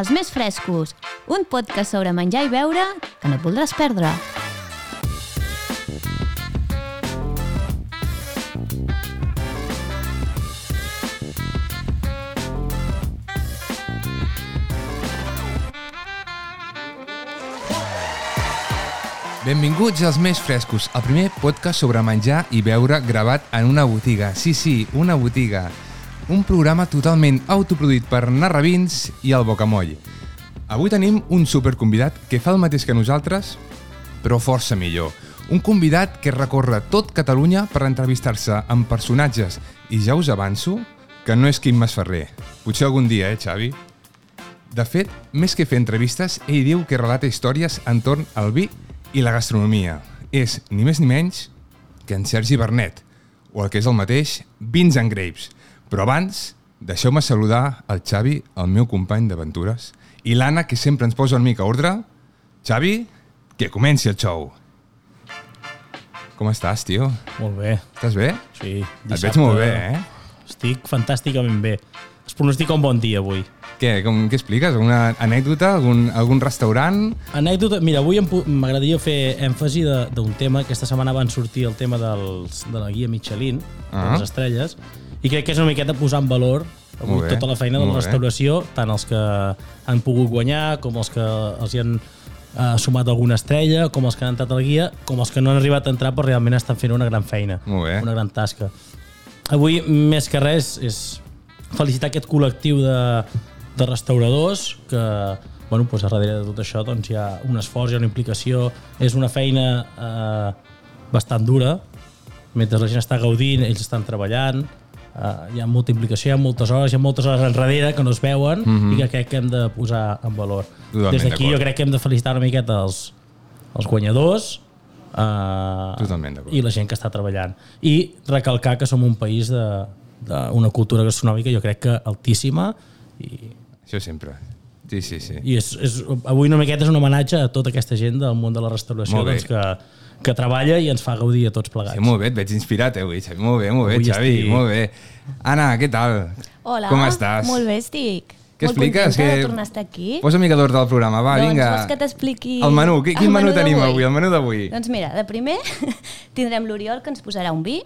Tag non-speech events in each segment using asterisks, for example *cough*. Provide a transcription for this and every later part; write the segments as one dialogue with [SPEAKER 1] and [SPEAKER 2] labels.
[SPEAKER 1] Els més frescos, un podcast sobre menjar i beure que no et voldràs perdre.
[SPEAKER 2] Benvinguts als Més Frescos, el primer podcast sobre menjar i beure gravat en una botiga. Sí, sí, una botiga. Un programa totalment autoproduït per Narrabins i el Bocamoll. Avui tenim un superconvidat que fa el mateix que nosaltres, però força millor. Un convidat que recorre tot Catalunya per entrevistar-se amb personatges i ja us avanço que no és Quim Masferrer. Potser algun dia, eh, Xavi? De fet, més que fer entrevistes, ell diu que relata històries entorn al vi i la gastronomia. És, ni més ni menys, que en Sergi Bernet, o el que és el mateix, Vins and Grapes. Però abans, deixeu-me saludar el Xavi, el meu company d'aventures, i l'Anna, que sempre ens posa una mica a ordre. Xavi, que comenci el xou. Com estàs, tio?
[SPEAKER 3] Molt bé,
[SPEAKER 2] Estàs bé?
[SPEAKER 3] sí.
[SPEAKER 2] Et veig molt bé, eh?
[SPEAKER 3] Estic fantàsticament bé. Es pronostica un bon dia avui.
[SPEAKER 2] Què, com, què expliques? Alguna anècdota? Algun, algun restaurant?
[SPEAKER 3] Anècdota, mira, avui em pu- m'agradaria fer èmfasi de- d'un tema. Aquesta setmana van sortir el tema dels, de la guia Michelin,
[SPEAKER 2] Ah.
[SPEAKER 3] ah. de les estrelles, i crec que és una miqueta posar en valor avui
[SPEAKER 2] Molt bé,
[SPEAKER 3] tota la feina de la
[SPEAKER 2] molt bé.
[SPEAKER 3] restauració, tant els que han pogut guanyar, com els que els hi han eh, sumat alguna estrella, com els que han entrat a la guia, com els que no han arribat a entrar, però realment estan fent una gran feina,
[SPEAKER 2] Molt bé.
[SPEAKER 3] una gran tasca. Avui, més que res, és felicitar aquest col·lectiu de, de restauradors que, bueno, doncs, a darrere de tot això doncs, hi ha un esforç, hi ha una implicació, és una feina eh, bastant dura, mentre la gent està gaudint, ells estan treballant, eh, hi ha molta implicació, hi ha moltes hores, hi ha moltes hores enrere que no es veuen i que crec que hem de posar en valor.
[SPEAKER 2] Mhm. Totalment
[SPEAKER 3] Des d'aquí jo
[SPEAKER 2] d'acord.
[SPEAKER 3] crec que hem de felicitar una miqueta els, els guanyadors, eh,
[SPEAKER 2] Totalment d'acord.
[SPEAKER 3] i la gent que està treballant. I recalcar que som un país de- d'una cultura gastronòmica, jo crec que altíssima, i,
[SPEAKER 2] Això sempre. Sí, sí, sí.
[SPEAKER 3] i és, és, avui una miqueta és un homenatge a tota aquesta gent del món de la restauració
[SPEAKER 2] Molt bé.
[SPEAKER 3] doncs, que, que treballa i ens fa gaudir a tots plegats.
[SPEAKER 2] Sí, molt bé, et veig inspirat, eh, avui, Xavi. Molt bé, molt bé,
[SPEAKER 3] Avui
[SPEAKER 2] Xavi,
[SPEAKER 3] estic-
[SPEAKER 2] molt bé. Anna, què tal?
[SPEAKER 1] Hola,
[SPEAKER 2] Com estàs?
[SPEAKER 1] molt bé estic.
[SPEAKER 2] Què
[SPEAKER 1] molt
[SPEAKER 2] expliques?
[SPEAKER 1] contenta
[SPEAKER 2] Que-
[SPEAKER 1] de tornar a estar aquí.
[SPEAKER 2] Posa mica d'ordre al programa, va,
[SPEAKER 1] doncs
[SPEAKER 2] vinga.
[SPEAKER 1] vols que t'expliqui...
[SPEAKER 2] El menú, qui- quin
[SPEAKER 1] el
[SPEAKER 2] menú, tenim
[SPEAKER 1] d'avui?
[SPEAKER 2] avui? El menú d'avui.
[SPEAKER 1] Doncs mira, de primer *laughs* tindrem l'Oriol que ens posarà un vi.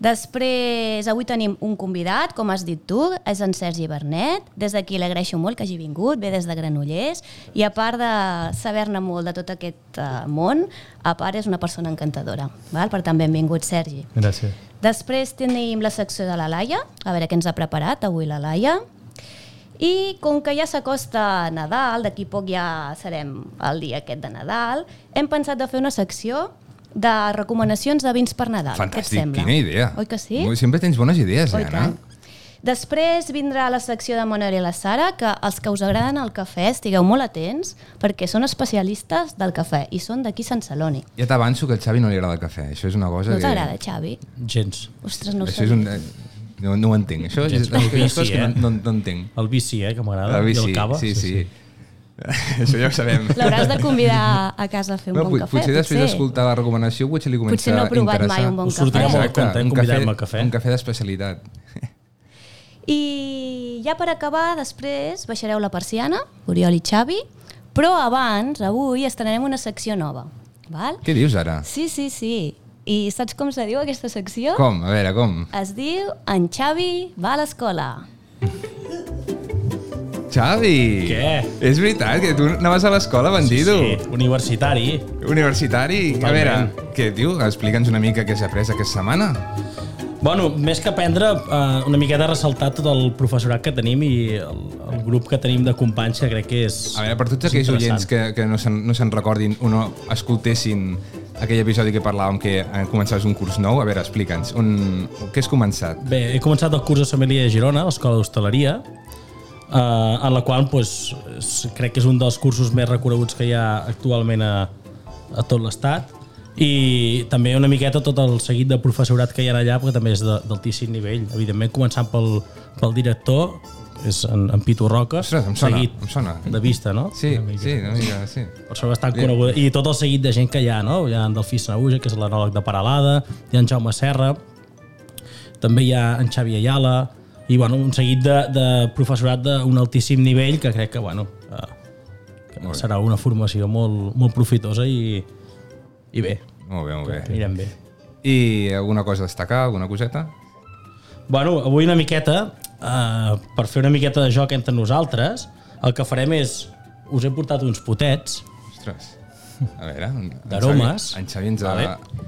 [SPEAKER 1] Després, avui tenim un convidat, com has dit tu, és en Sergi Bernet. Des d'aquí l'agraeixo molt que hagi vingut, ve des de Granollers, i a part de saber-ne molt de tot aquest eh, món, a part és una persona encantadora. Val? Per tant, benvingut, Sergi.
[SPEAKER 3] Gràcies.
[SPEAKER 1] Després tenim la secció de la Laia, a veure què ens ha preparat avui la Laia. I com que ja s'acosta Nadal, d'aquí poc ja serem el dia aquest de Nadal, hem pensat de fer una secció de recomanacions de vins per Nadal. Què et
[SPEAKER 2] Fantàstic,
[SPEAKER 1] sembla?
[SPEAKER 2] quina idea.
[SPEAKER 1] Oi que sí?
[SPEAKER 2] Molt- Sempre tens bones idees,
[SPEAKER 1] Oi
[SPEAKER 2] eh, Anna.
[SPEAKER 1] tant. Després vindrà la secció de Manuel i la Sara, que els que us agraden el cafè estigueu molt atents, perquè són especialistes del cafè i són d'aquí Sant Celoni.
[SPEAKER 2] Ja t'avanço que al Xavi no li agrada el cafè. Això és una cosa
[SPEAKER 1] No
[SPEAKER 2] que...
[SPEAKER 1] t'agrada, Xavi?
[SPEAKER 3] Gens.
[SPEAKER 1] Ostres, no ho
[SPEAKER 2] Això
[SPEAKER 1] sé.
[SPEAKER 2] és un... eh, No, no ho entenc. Això és, és,
[SPEAKER 3] Gens
[SPEAKER 2] és, és coses
[SPEAKER 3] propici,
[SPEAKER 2] que
[SPEAKER 3] eh?
[SPEAKER 2] no, no, no entenc.
[SPEAKER 3] El vi sí, eh, que m'agrada.
[SPEAKER 2] Avui
[SPEAKER 3] I el
[SPEAKER 2] sí,
[SPEAKER 3] cava.
[SPEAKER 2] sí, sí. *laughs* Això ja ho sabem.
[SPEAKER 1] L'hauràs de convidar a casa a fer un
[SPEAKER 2] Bueno,
[SPEAKER 1] bon
[SPEAKER 2] pot-
[SPEAKER 1] cafè,
[SPEAKER 2] potser després d'escoltar la recomanació potser li comença
[SPEAKER 1] Potser no ha provat
[SPEAKER 2] a interessar.
[SPEAKER 1] mai un bon
[SPEAKER 3] Us sortirà
[SPEAKER 1] cafè.
[SPEAKER 3] molt
[SPEAKER 2] un
[SPEAKER 3] content convidar-me al cafè.
[SPEAKER 2] Un cafè d'especialitat.
[SPEAKER 1] I ja per acabar, després baixareu la persiana, Oriol i Xavi, però abans, avui, estrenarem una secció nova. Val?
[SPEAKER 2] Què dius ara?
[SPEAKER 1] Sí, sí, sí. I saps com se diu aquesta secció?
[SPEAKER 2] Com? A veure, com?
[SPEAKER 1] Es diu En Xavi va a l'escola.
[SPEAKER 2] Xavi!
[SPEAKER 3] Què?
[SPEAKER 2] És veritat que tu anaves a l'escola, bandido.
[SPEAKER 3] sí. Universitari.
[SPEAKER 2] Universitari. A veure,
[SPEAKER 3] Totalment.
[SPEAKER 2] què diu? Explica'ns una mica què has après aquesta setmana.
[SPEAKER 3] Bueno, més que aprendre, eh, una miqueta ressaltar tot el professorat que tenim i el, el grup que tenim de companys, que crec que és...
[SPEAKER 2] A veure, per tots
[SPEAKER 3] és
[SPEAKER 2] aquells
[SPEAKER 3] interessant.
[SPEAKER 2] oients que, que no se'n no se'n recordin o no escoltessin aquell episodi que parlàvem que eh, començaves un curs nou, a veure, explica'ns, on, què has començat?
[SPEAKER 3] Bé, he començat el curs de sommelier a Girona, a l'Escola d'Hostaleria, eh, en la qual pues, és, crec que és un dels cursos més reconeguts que hi ha actualment a, a tot l'estat i també una miqueta tot el seguit de professorat que hi ha allà, perquè també és de- d'altíssim nivell. Evidentment, començant pel, pel director, és en, en Pitu Roca,
[SPEAKER 2] Ostres, em sona,
[SPEAKER 3] seguit
[SPEAKER 2] em sona.
[SPEAKER 3] de vista, no?
[SPEAKER 2] Sí,
[SPEAKER 3] Una mica.
[SPEAKER 2] sí, una mica, sí.
[SPEAKER 3] persona bastant coneguda. I tot el seguit de gent que hi ha, no? Hi ha en Delfí Sanaúja, que és l'anòleg de Paralada, hi ha en Jaume Serra, també hi ha en Xavi Ayala, i bueno, un seguit de, de professorat d'un altíssim nivell que crec que, bueno, eh, que serà una formació molt, molt profitosa i, i bé,
[SPEAKER 2] Molt bé, molt bé.
[SPEAKER 3] anirem bé.
[SPEAKER 2] I alguna cosa a destacar, alguna coseta?
[SPEAKER 3] Bueno, avui una miqueta, uh, per fer una miqueta de joc entre nosaltres, el que farem és... Us he portat uns potets.
[SPEAKER 2] Ostres. A veure... en- en
[SPEAKER 3] D'aromes.
[SPEAKER 2] Xavi- En Xavi ens,
[SPEAKER 3] Vale.
[SPEAKER 2] vale.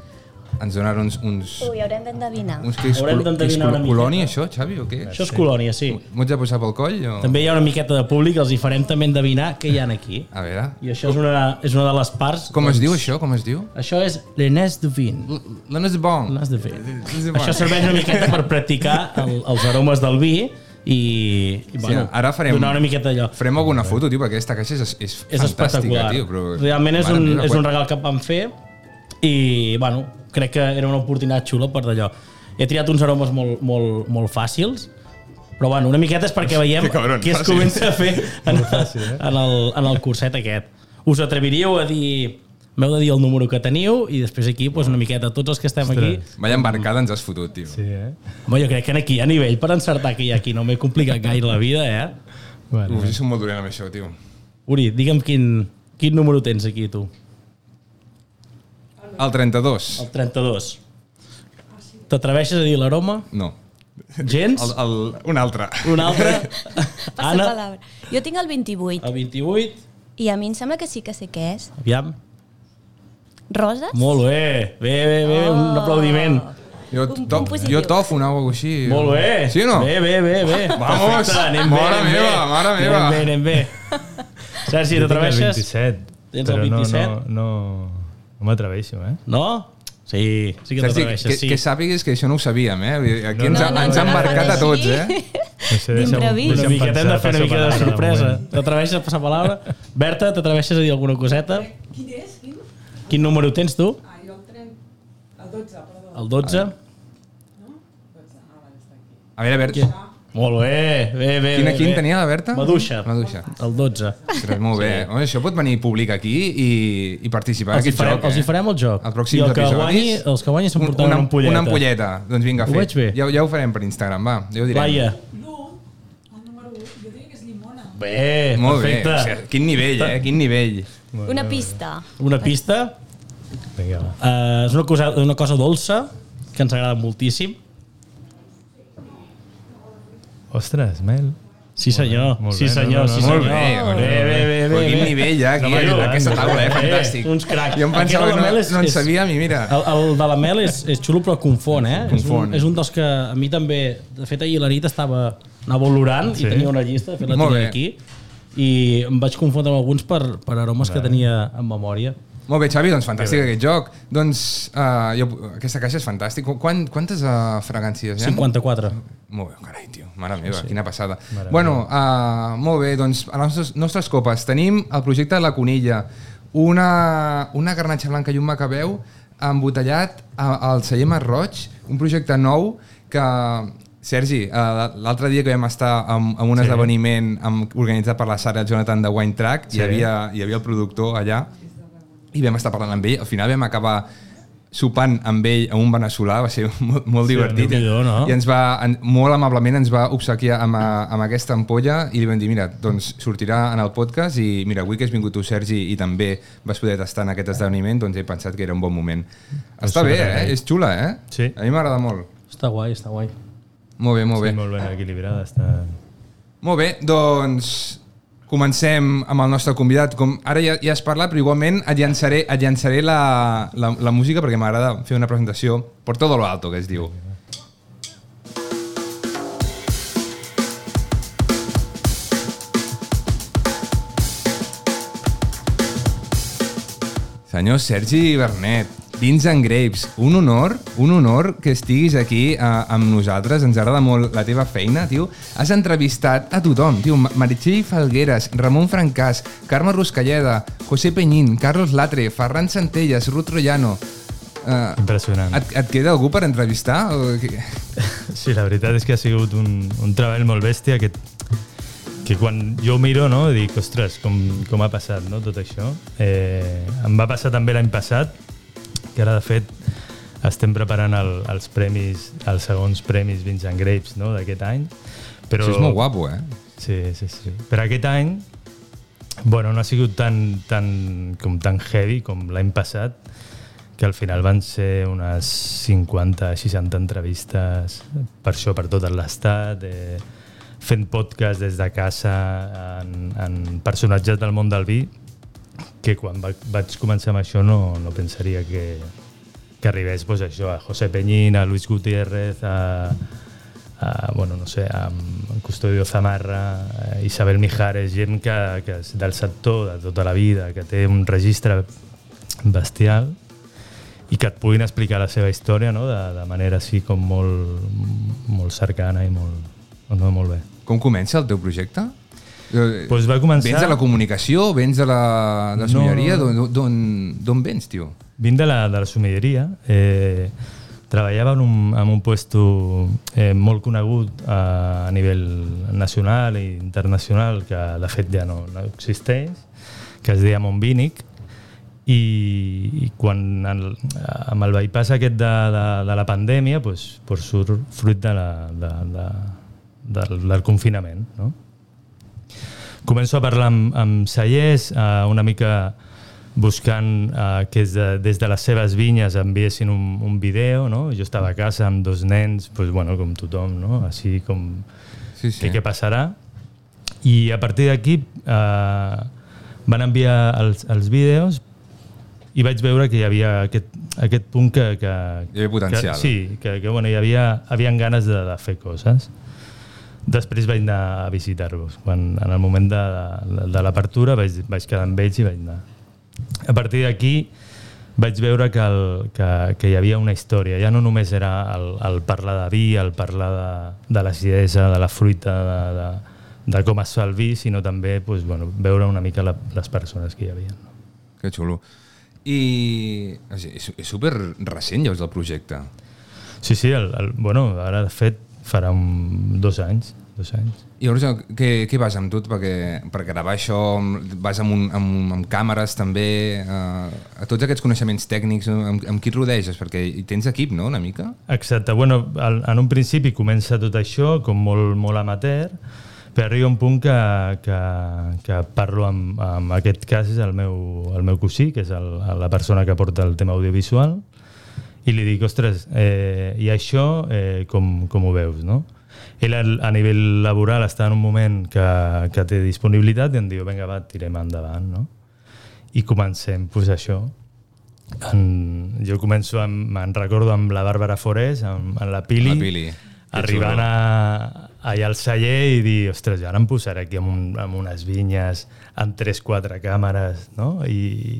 [SPEAKER 2] ens donaran uns, uns,
[SPEAKER 1] Ui, haurem d'endevinar.
[SPEAKER 2] uns clics, col,
[SPEAKER 3] Haurem
[SPEAKER 2] clics
[SPEAKER 3] d'endevinar una
[SPEAKER 2] col, colònia, això, Xavi, o què?
[SPEAKER 3] Això és colònia, sí.
[SPEAKER 2] M'ho haig de posar pel coll? O...
[SPEAKER 3] També hi ha una miqueta de públic, els hi farem també endevinar què hi ha aquí.
[SPEAKER 2] A veure,
[SPEAKER 3] I això és una, és una de les parts... doncs,
[SPEAKER 2] com es diu això? Com es diu?
[SPEAKER 3] Això és l'Enes de Vin.
[SPEAKER 2] L- L'Anes Bong.
[SPEAKER 3] L'has de fer.
[SPEAKER 2] L'Anes Bong.
[SPEAKER 3] Això serveix una miqueta per practicar el, els aromes del vi i, i bueno,
[SPEAKER 2] ara farem-
[SPEAKER 3] donar una miqueta allò.
[SPEAKER 2] Farem alguna foto, tio, perquè aquesta caixa és, és,
[SPEAKER 3] És
[SPEAKER 2] fantàstica,
[SPEAKER 3] espectacular.
[SPEAKER 2] tio. Però...
[SPEAKER 3] Realment és
[SPEAKER 2] Mare
[SPEAKER 3] un,
[SPEAKER 2] meva,
[SPEAKER 3] és
[SPEAKER 2] quan-
[SPEAKER 3] un regal que em van fer i, bueno, crec que era una oportunitat xula per d'allò. He triat uns aromes molt, molt, molt fàcils, però bueno, una miqueta és perquè veiem
[SPEAKER 2] *laughs* Que cabron,
[SPEAKER 3] què es
[SPEAKER 2] fàcil.
[SPEAKER 3] comença a
[SPEAKER 2] *laughs*
[SPEAKER 3] fer en, fàcil, eh? en, el, en el curset aquest. Us atreviríeu a dir... M'heu de dir el número que teniu i després aquí, doncs, una miqueta, tots els que estem aquí,
[SPEAKER 2] Vaya embarcada ens has fotut, tio.
[SPEAKER 4] Sí, eh?
[SPEAKER 3] Home, jo crec que aquí hi ha nivell per encertar que hi ha aquí. No m'he complicat gaire la vida, eh?
[SPEAKER 4] Bueno,
[SPEAKER 2] Uf, jo soc molt dolent amb això, tio.
[SPEAKER 3] Uri, digue'm quin, quin número tens aquí, tu.
[SPEAKER 2] El 32.
[SPEAKER 3] El 32. T'atreveixes a dir l'aroma?
[SPEAKER 2] No.
[SPEAKER 3] Gens?
[SPEAKER 2] El, el, un altre.
[SPEAKER 3] Un altre?
[SPEAKER 1] Passa Ana...
[SPEAKER 3] Anna?
[SPEAKER 1] palabra. Jo tinc el 28
[SPEAKER 3] El 28?
[SPEAKER 1] i a mi em sembla que sí que sé què és.
[SPEAKER 3] Aviam.
[SPEAKER 1] Roses?
[SPEAKER 3] Molt bé. Bé, bé, bé. Un aplaudiment.
[SPEAKER 2] Jo,
[SPEAKER 1] Un- un
[SPEAKER 2] to,
[SPEAKER 1] positiu.
[SPEAKER 2] jo tof, una o alguna cosa així.
[SPEAKER 3] Molt bé.
[SPEAKER 2] Sí o no?
[SPEAKER 3] Bé, bé, bé. bé.
[SPEAKER 2] Vamos.
[SPEAKER 3] Perfecte, anem bé,
[SPEAKER 2] Mare
[SPEAKER 3] anem
[SPEAKER 2] meva,
[SPEAKER 3] bé.
[SPEAKER 2] mare meva.
[SPEAKER 3] Anem bé, anem bé. Sergi,
[SPEAKER 4] jo tinc el
[SPEAKER 3] t'atreveixes?
[SPEAKER 4] 27.
[SPEAKER 3] Tens
[SPEAKER 4] però
[SPEAKER 3] el
[SPEAKER 4] no-
[SPEAKER 3] 27?
[SPEAKER 4] No, no, no, m'atreveixo, eh?
[SPEAKER 3] No? Sí, sí que
[SPEAKER 2] Sergi, que,
[SPEAKER 3] t'atreveixes, tota sí.
[SPEAKER 2] que sàpigues que això no ho sabíem, eh? Vull dir, Aquí ens,
[SPEAKER 1] No, no,
[SPEAKER 2] ens
[SPEAKER 1] ens
[SPEAKER 2] han
[SPEAKER 1] ha
[SPEAKER 2] marcat a
[SPEAKER 1] agafat
[SPEAKER 2] tots,
[SPEAKER 1] així.
[SPEAKER 2] eh?
[SPEAKER 4] No sé, deixa'm-
[SPEAKER 1] D'imprevist.
[SPEAKER 4] deixa'm
[SPEAKER 3] Una miqueta hem de
[SPEAKER 4] pensar,
[SPEAKER 3] fer una
[SPEAKER 4] passo
[SPEAKER 3] mica de
[SPEAKER 4] palabra de
[SPEAKER 3] sorpresa.
[SPEAKER 4] moment.
[SPEAKER 3] T'atreveixes a passar paraula? Berta, t'atreveixes a dir alguna coseta? Quin és? Quin número tens tu?
[SPEAKER 5] Ah, jo el 30... El 12, perdó.
[SPEAKER 3] El 12?
[SPEAKER 2] A veure, Berta,
[SPEAKER 5] Ah.
[SPEAKER 3] Molt bé, bé, bé.
[SPEAKER 2] quina,
[SPEAKER 3] bé,
[SPEAKER 2] quin
[SPEAKER 3] bé.
[SPEAKER 2] tenia la Berta?
[SPEAKER 3] Maduixa.
[SPEAKER 2] Maduixa.
[SPEAKER 3] El 12.
[SPEAKER 2] Ostres, molt bé. Home, això pot venir públic aquí i, i participar en
[SPEAKER 3] Els hi,
[SPEAKER 2] aquest
[SPEAKER 3] farem,
[SPEAKER 2] joc, eh?
[SPEAKER 3] els hi farem el joc.
[SPEAKER 2] Els pròxims
[SPEAKER 3] I el que
[SPEAKER 2] episodis,
[SPEAKER 3] guanyi, els que guanyi s'emportaran
[SPEAKER 2] una,
[SPEAKER 3] una, ampolleta.
[SPEAKER 2] Una ampolleta. Doncs vinga,
[SPEAKER 3] Ho
[SPEAKER 2] fet.
[SPEAKER 3] veig bé.
[SPEAKER 2] Ja, ja ho farem per Instagram, va. Ja ho direm.
[SPEAKER 3] Laia.
[SPEAKER 5] L'un, el número 1, jo diria que és llimona.
[SPEAKER 3] Bé,
[SPEAKER 2] Molt bé. O
[SPEAKER 3] perfecte.
[SPEAKER 2] sigui, quin nivell, eh? Quin nivell.
[SPEAKER 1] *laughs* Una pista.
[SPEAKER 3] Una pista.
[SPEAKER 4] Vinga, va.
[SPEAKER 3] eh, és una cosa, una cosa dolça que ens agrada moltíssim.
[SPEAKER 4] Ostres, Mel.
[SPEAKER 3] Sí senyor,
[SPEAKER 4] molt
[SPEAKER 3] sí
[SPEAKER 4] bé,
[SPEAKER 3] senyor,
[SPEAKER 4] no, no,
[SPEAKER 3] sí
[SPEAKER 4] no,
[SPEAKER 3] senyor.
[SPEAKER 2] molt bé, molt bé,
[SPEAKER 3] bé, bé, bé,
[SPEAKER 2] Però
[SPEAKER 3] bé,
[SPEAKER 2] quin
[SPEAKER 3] bé.
[SPEAKER 2] nivell, ja, aquí,
[SPEAKER 4] No, no,
[SPEAKER 2] aquesta
[SPEAKER 4] no.
[SPEAKER 2] taula, eh?
[SPEAKER 3] Eh,
[SPEAKER 2] Fantàstic.
[SPEAKER 3] uns cracs.
[SPEAKER 2] Jo em pensava
[SPEAKER 3] Aquest de la
[SPEAKER 2] que no,
[SPEAKER 3] Mel és-
[SPEAKER 2] no en
[SPEAKER 3] és-
[SPEAKER 2] sabíem i mira.
[SPEAKER 3] El, el de la Mel és, és xulo però confon, eh?
[SPEAKER 2] Confon.
[SPEAKER 3] És, un, és un dels que a mi també... De fet, ahir la nit estava, anava olorant sí.
[SPEAKER 4] Sí?
[SPEAKER 3] i tenia una llista, de fet la
[SPEAKER 2] Molt bé.
[SPEAKER 3] tenia aquí, i em vaig confondre amb alguns per, per aromes que tenia en memòria.
[SPEAKER 2] Molt bé, Xavi, doncs fantàstic aquest joc. Doncs uh, jo, aquesta caixa és fantàstica. Quan, quantes uh, fragàncies hi ha?
[SPEAKER 3] 54.
[SPEAKER 2] Molt bé, carai, tio, mare meva, sí. quina passada. Mare bueno, uh, molt bé, doncs a les nostres, nostres copes tenim el projecte de la Conilla, una, una garnatxa blanca i un macabeu embotellat a- al celler Mar Roig, un projecte nou que... Sergi, eh, l'altre dia que vam estar en, en un sí. esdeveniment amb, organitzat per la Sara Jonathan de Wine Track, sí. hi, havia, hi havia el productor allà i vam estar parlant amb ell. Al final vam acabar sopant amb ell a un veneçolà, va ser *laughs* molt, molt sí, divertit.
[SPEAKER 3] Déu-n'hi-do, no?
[SPEAKER 2] I ens va, en, molt amablement ens va obsequiar amb, a, amb aquesta ampolla i li vam dir, mira, doncs sortirà en el podcast i mira, avui que has vingut tu, Sergi, i també vas poder tastar en aquest esdeveniment, doncs he pensat que era un bon moment. Està bé, eh? És xula, eh?
[SPEAKER 4] Doncs Sí.
[SPEAKER 2] A mi m'agrada molt.
[SPEAKER 3] Està guai, està guai.
[SPEAKER 2] Molt bé, molt bé.
[SPEAKER 4] Sí, molt ben equilibrada. Està...
[SPEAKER 2] Molt bé, doncs comencem amb el nostre convidat. Com ara ja, ja has parlat, però igualment et llançaré, et llançaré la, la, la música perquè m'agrada fer una presentació per todo lo alto, que es diu. Senyor Sergi Bernet, Vins and Grapes, un honor, un honor que estiguis aquí eh, amb nosaltres, ens agrada molt la teva feina, tio. Has entrevistat a tothom, tio, Ma- Meritxell Falgueres, Ramon Francàs, Carme Ruscalleda, José Peñín, Carlos Latre, Ferran Centelles, Ruth Troyano... Eh,
[SPEAKER 4] Impressionant.
[SPEAKER 2] et, et queda algú per entrevistar? O... què?
[SPEAKER 4] *laughs* Sí, la veritat és que ha sigut un, un treball molt bèstia que, que quan jo ho miro no, dic, ostres, com, com ha passat no, tot això. Eh, em va passar també l'any passat, que ara de fet estem preparant el, els premis, els segons premis Vincent Grapes no? d'aquest any. Però,
[SPEAKER 2] Però... Això és molt guapo, eh?
[SPEAKER 4] Sí, sí, sí. Per aquest any, bueno, no ha sigut tan, tan, com tan heavy com l'any passat, que al final van ser unes 50-60 entrevistes per això, per tot l'estat, eh, fent podcast des de casa en, en personatges del món del vi, que quan va, vaig començar amb això no, no pensaria que, que arribés pues, això, a José Peñín, a Luis Gutiérrez, a, a bueno, no sé, a Custodio Zamarra, a Isabel Mijares, gent que, que és del sector de tota la vida, que té un registre bestial i que et puguin explicar la seva història no? de, de manera així com molt, molt cercana i molt, no, molt bé.
[SPEAKER 2] Com comença el teu projecte? Eh,
[SPEAKER 4] Pues va començar-
[SPEAKER 2] Vens de la comunicació? Vens de la, de la
[SPEAKER 4] No,
[SPEAKER 2] sobirania?
[SPEAKER 4] no,
[SPEAKER 2] No, no. D'on vens, tio?
[SPEAKER 4] Vinc de la, de la sumilleria. Eh, treballava en un, en un puesto eh, molt conegut a, a nivell nacional i internacional, que de fet ja no, no existeix, que es deia Montbínic, i, i quan en, amb el bypass aquest de, de, de la pandèmia pues, pues surt fruit de la, de, de, del, del confinament. No? començo a parlar amb, amb cellers, eh, una mica buscant eh, que des de, des de les seves vinyes enviessin un, un vídeo, no? Jo estava a casa amb dos nens, pues, bueno, com tothom, no? Així com...
[SPEAKER 2] Sí,
[SPEAKER 4] Sí.
[SPEAKER 2] sí.
[SPEAKER 4] Què, què passarà? I a partir d'aquí eh, van enviar els, els vídeos i vaig veure que hi havia aquest, aquest punt que... que
[SPEAKER 2] Hi havia potencial.
[SPEAKER 4] Que, sí, que, que bueno, hi havia, havien ganes de, de fer coses. Després vaig anar a visitar-los. Quan, en el moment de, de, de l'apertura vaig, vaig quedar amb ells i vaig anar. A partir d'aquí vaig veure que, el, que, que hi havia una història. Ja no només era el, el parlar de vi, el parlar de, de l'acidesa, de la fruita, de, de, de com es fa el vi, sinó també doncs, bueno, veure una mica la, les persones que hi havia. No?
[SPEAKER 2] Que xulo. I o sigui, és, és super recent, llavors, el projecte.
[SPEAKER 4] Sí, sí, el, el, bueno, ara de fet farà un, dos anys, dos anys.
[SPEAKER 2] I llavors, què, què vas amb tot? Perquè, per gravar això, amb- vas amb, un, amb, amb càmeres també, eh, a tots aquests coneixements tècnics, no? amb, amb qui et rodeges? Perquè hi tens equip, no?, una mica?
[SPEAKER 4] Exacte, bueno, al- en un principi comença tot això com molt, molt amateur, però arriba un punt que, que, que parlo amb, amb aquest cas és el meu, el meu cosí, que és el, la persona que porta el tema audiovisual, i li dic, ostres, eh, i això eh, com, com ho veus, no? Ell a, a nivell laboral està en un moment que, que té disponibilitat i em diu, vinga, va, tirem endavant, no? I comencem, doncs, pues, això, en, jo començo amb, me'n recordo amb la Bàrbara Forés, amb, amb la Pili,
[SPEAKER 2] La Pili. Que
[SPEAKER 4] arribant
[SPEAKER 2] xulo.
[SPEAKER 4] a, allà al celler i dir, ostres, ara em posaré aquí amb, un, amb unes vinyes, amb 3-4 càmeres, no? I,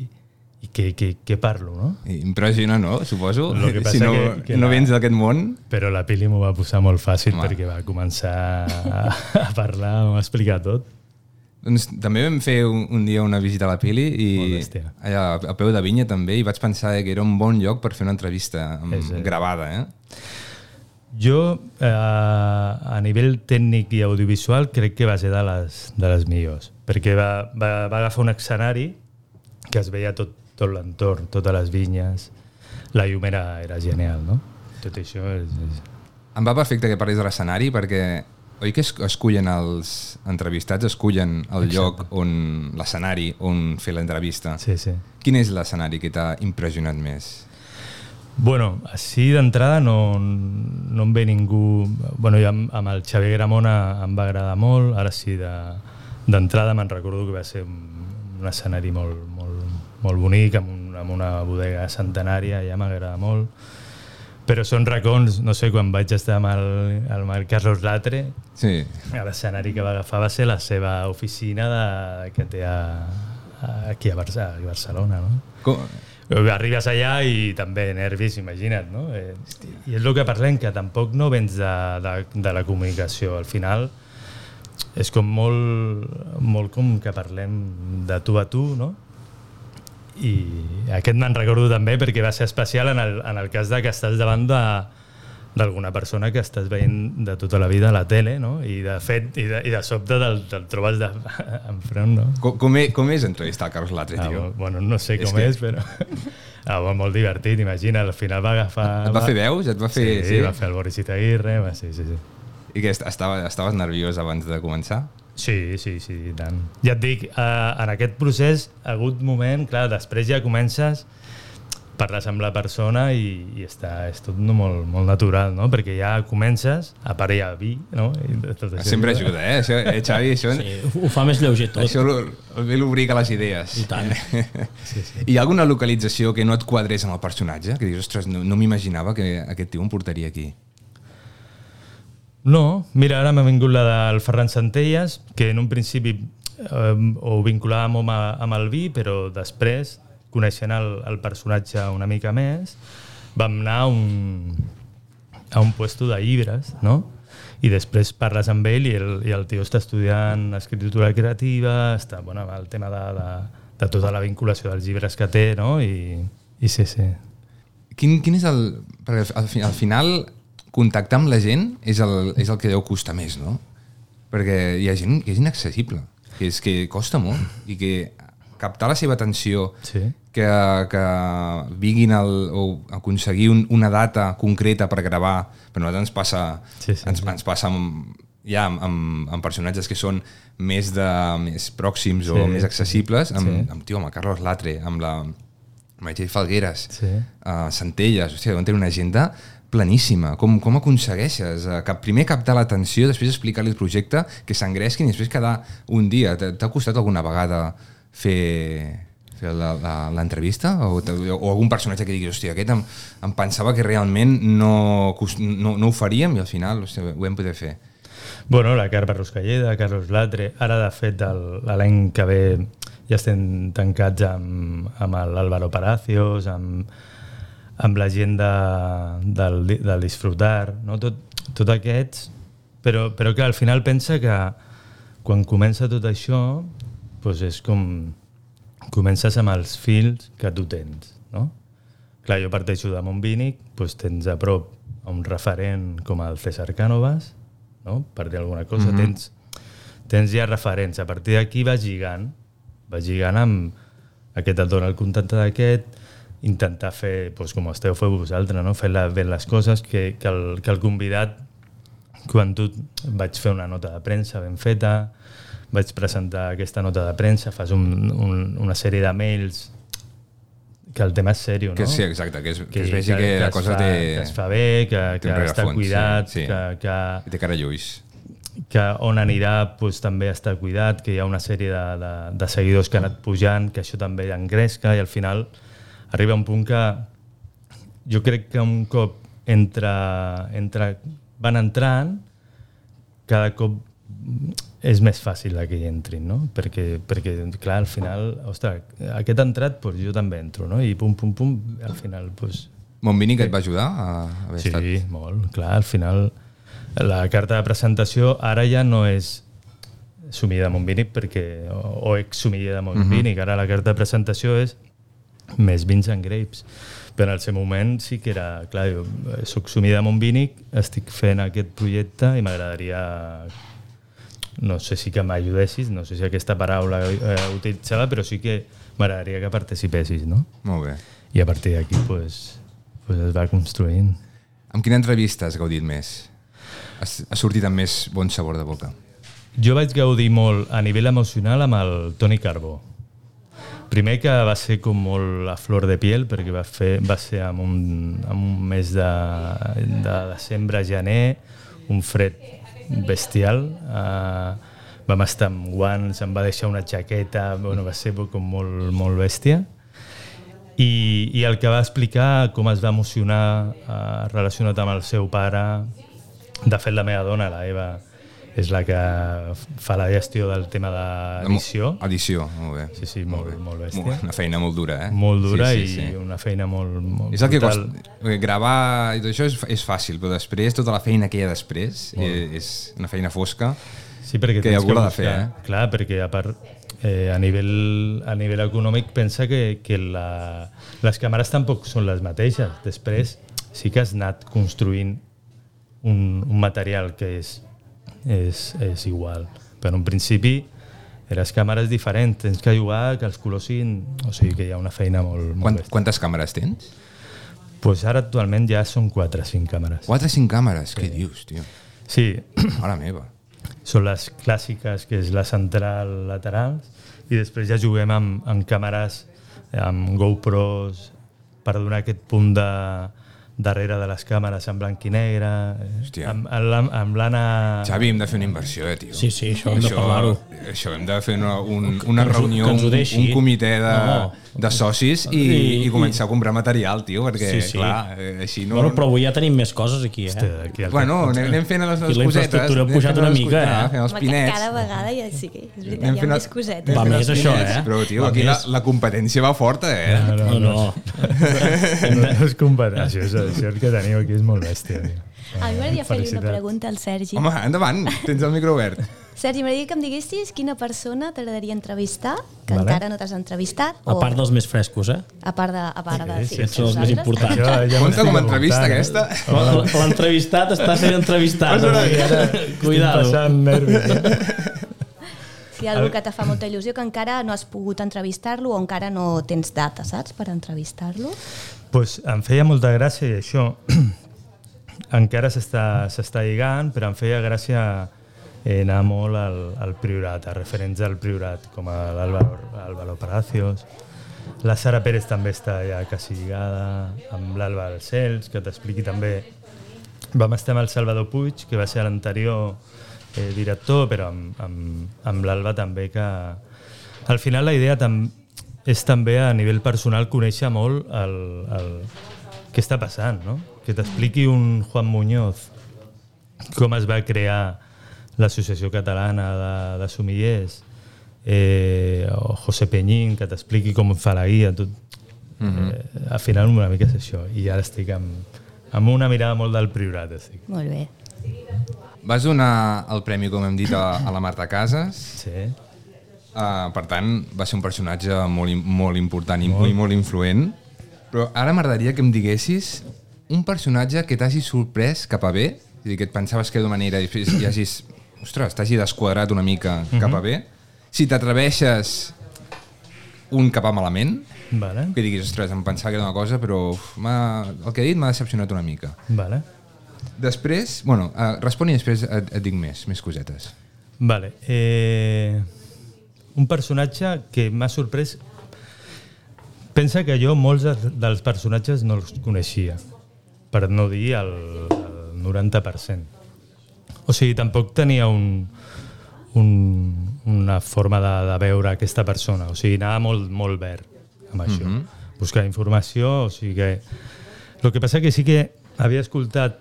[SPEAKER 4] i què, què, què parlo, no?
[SPEAKER 2] Impressiona, no?, suposo.
[SPEAKER 4] Lo que
[SPEAKER 2] *laughs*
[SPEAKER 4] passa
[SPEAKER 2] si no,
[SPEAKER 4] que- que
[SPEAKER 2] no
[SPEAKER 4] la-
[SPEAKER 2] vens d'aquest món...
[SPEAKER 4] Però la Pili m'ho va posar molt fàcil
[SPEAKER 2] Home.
[SPEAKER 4] Home. perquè va començar a, a parlar, m'ho va explicar tot.
[SPEAKER 2] Doncs també vam fer un, un dia una visita a la Pili i
[SPEAKER 4] Molt bèstia.
[SPEAKER 2] allà, a peu de vinya també i vaig pensar eh, que era un bon lloc per fer una entrevista amb,
[SPEAKER 4] És, eh.
[SPEAKER 2] gravada, eh?
[SPEAKER 4] Jo, eh, a nivell tècnic i audiovisual, crec que va ser de les, de les millors, perquè va, va, va agafar un escenari que es veia tot, tot l'entorn, totes les vinyes, la llum era, era genial, no? Tot això és... és...
[SPEAKER 2] Em va perfecte que parlis de l'escenari perquè oi que es, escullen els entrevistats, escullen el Exacte. lloc on l'escenari on fer l'entrevista.
[SPEAKER 4] Sí, sí.
[SPEAKER 2] Quin és l'escenari que t'ha impressionat més?
[SPEAKER 4] Bueno, així d'entrada no, no em ve ningú... Bueno, jo amb, amb el Xavier Gramona em va agradar molt, ara sí, de- d'entrada de, me'n recordo que va ser un, un escenari molt, molt, molt bonic, amb, un, amb una bodega centenària, ja m'agrada molt. Però són racons, no sé, quan vaig estar amb el, amb el Carlos Latre,
[SPEAKER 2] Sí,
[SPEAKER 4] l'escenari que va agafar va ser la seva oficina de, que té a, a, aquí a, Bar a Barcelona, no?
[SPEAKER 2] Com,
[SPEAKER 4] Arribes allà i també nervis, imagina't, no? Eh, I és el que parlem, que tampoc no vens de, de, de la comunicació. Al final és com molt, molt com que parlem de tu a tu, no? I aquest me'n recordo també perquè va ser especial en el, en el cas de que estàs davant de d'alguna persona que estàs veient de tota la vida a la tele, no? I de fet, i de, i de sobte te'l te trobes de, *laughs* enfront, no?
[SPEAKER 2] com, com, és, com és e, entrevistar el Carlos Latre,
[SPEAKER 4] Ah,
[SPEAKER 2] tio?
[SPEAKER 4] bueno, no sé
[SPEAKER 2] És
[SPEAKER 4] com
[SPEAKER 2] que-
[SPEAKER 4] és, però... *laughs* Ah, va, molt divertit, imagina, al final Ah, va agafar...
[SPEAKER 2] Et va fer veus? Et va fer...
[SPEAKER 4] Sí, sí, va fer el Boris Itaguirre, va, sí, sí, sí.
[SPEAKER 2] I que est- estava, estaves nerviós abans de començar?
[SPEAKER 4] Sí, sí, sí, i tant. Ja et dic, eh, en aquest procés ha hagut moment, clar, després ja comences a parlar amb la persona i, i està, és tot no, molt, molt natural, no? Perquè ja comences, a part hi ha vi, no? I tot això
[SPEAKER 2] Sempre ajuda, eh? Això, eh, Xavi, això, sí,
[SPEAKER 3] Sí, ho- ho fa més lleuger tot.
[SPEAKER 2] això lo- el bé l'obriga les idees.
[SPEAKER 3] I tant.
[SPEAKER 2] Sí, sí. Hi ha alguna localització que no et quadrés en el personatge? Que dius, ostres, no, no m'imaginava que aquest tio em portaria aquí.
[SPEAKER 4] No, mira, ara m'ha vingut la del Ferran Centelles, que en un principi eh, ho vinculàvem amb, a- amb el vi, però després, coneixent el, el personatge una mica més, vam anar a un, a un puesto de llibres, no? I després parles amb ell i el, i el tio està estudiant escritura creativa, està, bueno, amb el tema de, de, de tota la vinculació dels llibres que té, no? I, i sí, sí.
[SPEAKER 2] Quin, quin és el... Perquè al, fi- al final contactar amb la gent és el, és el que deu costar més, no? Perquè hi ha gent que és inaccessible, que és que costa molt i que captar la seva atenció,
[SPEAKER 4] Sí.
[SPEAKER 2] que, que vinguin el, o aconseguir un, una data concreta per gravar, però a nosaltres ens passa,
[SPEAKER 4] Sí, sí,
[SPEAKER 2] ens, ens passa amb, ja amb, amb, amb personatges que són més de més pròxims sí, o més accessibles, amb, sí. amb, tio, amb el Carlos Latre, amb la Meritxell Falgueres,
[SPEAKER 4] Sí.
[SPEAKER 2] a Centelles, hòstia, deuen tenir una agenda planíssima. Com, com aconsegueixes? eh, Que primer captar l'atenció, després explicar-li el projecte, que s'engresquin i després quedar un dia. T'ha t'ha costat alguna vegada fer fer la- la- l'entrevista o, te- o algun personatge que digui hòstia, aquest em, em pensava que realment no, cos- no, no ho faríem i al final hòstia, ho hem poder fer
[SPEAKER 4] Bueno, la Carme Ruscalleda, Carlos Latre, ara de fet el- l'any que ve ja estem tancats amb, amb l'Álvaro Palacios, amb, amb la gent de, del, di- del disfrutar, no? tot, tot aquests, però, però que al final pensa que quan comença tot això doncs és com comences amb els fils que tu tens, no? Clar, jo parteixo de Montbínic, doncs tens a prop a un referent com el César Cànovas, no? per dir alguna cosa, mm -hmm. tens, tens ja referents. A partir d'aquí vas lligant, vas lligant amb aquest et dona el contacte d'aquest, intentar fer, doncs, com esteu feu vosaltres, no? fer la, bé les coses, que, que, el, que el convidat, quan tu vaig fer una nota de premsa ben feta, vaig presentar aquesta nota de premsa, fas un, un, una sèrie de mails que el tema és seriós, no?
[SPEAKER 2] que sí, exacte, que es, que, que es vegi que, que la
[SPEAKER 4] es
[SPEAKER 2] cosa
[SPEAKER 4] fa, Que
[SPEAKER 2] té,
[SPEAKER 4] es fa bé, que,
[SPEAKER 2] té
[SPEAKER 4] que
[SPEAKER 2] un
[SPEAKER 4] està
[SPEAKER 2] rerefons, sí,
[SPEAKER 4] cuidat,
[SPEAKER 2] sí.
[SPEAKER 4] sí, sí. Que, que,
[SPEAKER 2] que té cara lluís
[SPEAKER 4] que on anirà pues, també està cuidat, que hi ha una sèrie de, de, de seguidors que han anat pujant, que això també engresca i al final arriba un punt que jo crec que un cop entre, entre van entrant, cada cop és més fàcil que hi entrin, no? Perquè, perquè clar, al final, ostres, aquest ha entrat, doncs jo també entro, no? I pum, pum, pum, al final, doncs,
[SPEAKER 2] Montbini que et va ajudar a haver
[SPEAKER 4] Sí,
[SPEAKER 2] estat
[SPEAKER 4] molt, clar, al final la carta de presentació ara ja no és sumida de Montbínic perquè, o, o exsumida de Montbínic, ara la carta de presentació és més vins and grapes però en el seu moment sí que era clar, jo eh, soc sumida de Montbínic estic fent aquest projecte i m'agradaria no sé si que m'ajudessis, no sé si aquesta paraula eh, utilitzada, però sí que m'agradaria que participessis, no?
[SPEAKER 2] molt bé
[SPEAKER 4] I a partir d'aquí pues, pues es va construint.
[SPEAKER 2] Amb quina entrevista has gaudit més? Has, has sortit amb més bon sabor de boca.
[SPEAKER 4] Jo vaig gaudir molt a nivell emocional amb el Toni Carbó. Primer que va ser com molt a flor de piel perquè va, fer, va ser en un, en un mes de, de desembre, gener, un fred bestial. Uh, vam estar amb guants, em va deixar una jaqueta, bueno, va ser com molt, molt bèstia. I, i el que va explicar com es va emocionar eh, relacionat amb el seu pare de fet la meva dona, la Eva és la que fa la gestió del tema de l'edició
[SPEAKER 2] Edició, molt bé.
[SPEAKER 4] sí, sí, molt, molt bèstia
[SPEAKER 2] Molt, una feina molt dura, eh?
[SPEAKER 4] molt dura
[SPEAKER 2] sí, sí,
[SPEAKER 4] i
[SPEAKER 2] sí.
[SPEAKER 4] una feina molt, molt
[SPEAKER 2] És el que
[SPEAKER 4] brutal.
[SPEAKER 2] costa. Perquè Gravar i tot això és, és fàcil, però després, tota la feina que hi ha després, eh, és una feina fosca.
[SPEAKER 4] Sí, perquè
[SPEAKER 2] Que
[SPEAKER 4] tens
[SPEAKER 2] algú l'ha de
[SPEAKER 4] buscar-
[SPEAKER 2] fer, eh?
[SPEAKER 4] Clar, perquè a part, eh, a, nivell, a nivell econòmic pensa que, que la, les càmeres tampoc són les mateixes. Després sí que has anat construint un, un material que és, és, és igual. Però en un principi les càmeres diferents, tens que jugar, que els colors siguin... O sigui que hi ha una feina molt, molt
[SPEAKER 2] Quant,
[SPEAKER 4] bèstia.
[SPEAKER 2] quantes càmeres tens?
[SPEAKER 4] Pues ara actualment ja són 4 o 5 càmeres.
[SPEAKER 2] 4 o 5 càmeres? Què dius,
[SPEAKER 4] *clears throat*
[SPEAKER 2] tio?
[SPEAKER 4] Sí,
[SPEAKER 2] Mare meva.
[SPEAKER 4] són les clàssiques, que és la central, laterals, i després ja juguem amb, amb càmeres, amb GoPros, per donar aquest punt de darrere de les càmeres en blanc i negre, eh,
[SPEAKER 2] Hòstia.
[SPEAKER 4] amb, amb, l'an- amb l'Anna...
[SPEAKER 2] Xavi, hem de fer una inversió, eh, tio.
[SPEAKER 3] Sí, sí, això hem de parlar-ho.
[SPEAKER 2] Això hem de fer una, un, una
[SPEAKER 3] que ens ho-
[SPEAKER 2] reunió,
[SPEAKER 3] que ens ho
[SPEAKER 2] un,
[SPEAKER 3] deixi.
[SPEAKER 2] un comitè de,
[SPEAKER 3] No.
[SPEAKER 2] de socis i,
[SPEAKER 3] I-
[SPEAKER 2] i, començar a comprar material, tio, perquè, sí,
[SPEAKER 3] Sí, sí.
[SPEAKER 2] sí. clar, eh, així
[SPEAKER 3] No,
[SPEAKER 2] no...
[SPEAKER 3] bueno, però avui ja tenim més coses aquí, eh?
[SPEAKER 4] Hòstia, aquí al-
[SPEAKER 2] Bueno, anem, anem fent les
[SPEAKER 3] I
[SPEAKER 2] nostres
[SPEAKER 3] la
[SPEAKER 2] cosetes.
[SPEAKER 3] infraestructura ha
[SPEAKER 2] anem
[SPEAKER 3] pujat
[SPEAKER 2] fent
[SPEAKER 3] una
[SPEAKER 2] les
[SPEAKER 3] mica,
[SPEAKER 2] cosetes,
[SPEAKER 3] eh?
[SPEAKER 2] fent els
[SPEAKER 6] Home, que
[SPEAKER 2] pinets.
[SPEAKER 6] cada vegada ja sí que és veritat,
[SPEAKER 2] Anem
[SPEAKER 6] hi ha
[SPEAKER 2] fent
[SPEAKER 6] més
[SPEAKER 2] el-
[SPEAKER 6] cosetes.
[SPEAKER 2] anem
[SPEAKER 3] Va
[SPEAKER 2] fent
[SPEAKER 3] més,
[SPEAKER 2] els
[SPEAKER 3] això,
[SPEAKER 2] pinets,
[SPEAKER 3] eh?
[SPEAKER 2] Però, tio,
[SPEAKER 3] Va
[SPEAKER 2] aquí la,
[SPEAKER 3] més.
[SPEAKER 2] la competència va forta, eh?
[SPEAKER 4] No,
[SPEAKER 3] No, no. *laughs*
[SPEAKER 4] no, no es compara. Això, és, això que teniu aquí és molt bèstia. tio.
[SPEAKER 6] A mi m'agradaria fer-li una
[SPEAKER 4] Felicitats.
[SPEAKER 6] pregunta al Sergi.
[SPEAKER 2] Home, endavant, tens el micro obert.
[SPEAKER 6] Sergi, m'agradaria que em diguessis quina persona t'agradaria entrevistar, que
[SPEAKER 4] Vale.
[SPEAKER 6] encara no t'has entrevistat,
[SPEAKER 3] A
[SPEAKER 6] o
[SPEAKER 3] part
[SPEAKER 4] Oh.
[SPEAKER 3] dels més frescos, eh?
[SPEAKER 6] a part de... A part de
[SPEAKER 4] Sí, sí,
[SPEAKER 6] de
[SPEAKER 3] són els més
[SPEAKER 6] vosaltres.
[SPEAKER 3] importants.
[SPEAKER 4] Això
[SPEAKER 2] Compte
[SPEAKER 4] ja m'estic
[SPEAKER 2] com a entrevista,
[SPEAKER 4] apuntant, eh?
[SPEAKER 2] aquesta.
[SPEAKER 3] L- L'entrevistat està sent entrevistat.
[SPEAKER 2] Posa una
[SPEAKER 3] avui, *laughs*
[SPEAKER 2] mica.
[SPEAKER 3] eh?
[SPEAKER 4] Estic
[SPEAKER 3] Cuidado.
[SPEAKER 4] passant nervis. eh?
[SPEAKER 6] Si hi ha algú que te fa molta il·lusió, que encara no has pogut entrevistar-lo o encara no tens data, saps, per entrevistar-lo.
[SPEAKER 4] pues em feia molta gràcia i això *clears throat* encara s'està s'està lligant, però em feia gràcia eh, anar molt al, al priorat, a referents del priorat, com a l'Álvaro Álvaro Palacios. La Sara Pérez també està ja quasi lligada, amb l'Àlvaro Cels, que t'expliqui també... Vam estar amb el Salvador Puig, que va ser l'anterior eh, director, però amb, amb, amb l'Alba també, que... Al final la idea tam és també a nivell personal conèixer molt el, el, què està passant, no? Que t'expliqui un Juan Muñoz com es va crear l'Associació Catalana de, de Sumillers, eh, o José Peñín, que t'expliqui com fa la guia, tot. Mm -hmm. eh, al final una mica és això, i ara estic amb, amb una mirada molt del priorat. Estic.
[SPEAKER 6] Molt bé.
[SPEAKER 2] Vas donar el premi, com hem dit, a, a la Marta Casas.
[SPEAKER 4] Sí.
[SPEAKER 2] Uh, per tant, va ser un personatge molt, im- molt important molt. i molt influent. Però ara m'agradaria que em diguessis un personatge que t'hagi sorprès cap a bé, és a dir, que et pensaves que de manera i després hi hagis, ostres, t'hagi desquadrat una mica cap a bé. Si t'atreveixes un cap a malament,
[SPEAKER 4] Vale.
[SPEAKER 2] que diguis, ostres, em pensava que era una cosa, però uf, m'ha- el que ha dit m'ha decepcionat una mica.
[SPEAKER 4] Vale.
[SPEAKER 2] Després, bueno, uh, respon i després et, et dic més, més cosetes.
[SPEAKER 4] Vale. Eh, un personatge que m'ha sorprès... Pensa que jo molts de- dels personatges no els coneixia, per no dir el, el 90%. O sigui, tampoc tenia un, un, una forma de, de veure aquesta persona. O sigui, anava molt, molt verd amb això. Mm -hmm. Buscar informació, o sigui que... El que passa que sí que havia escoltat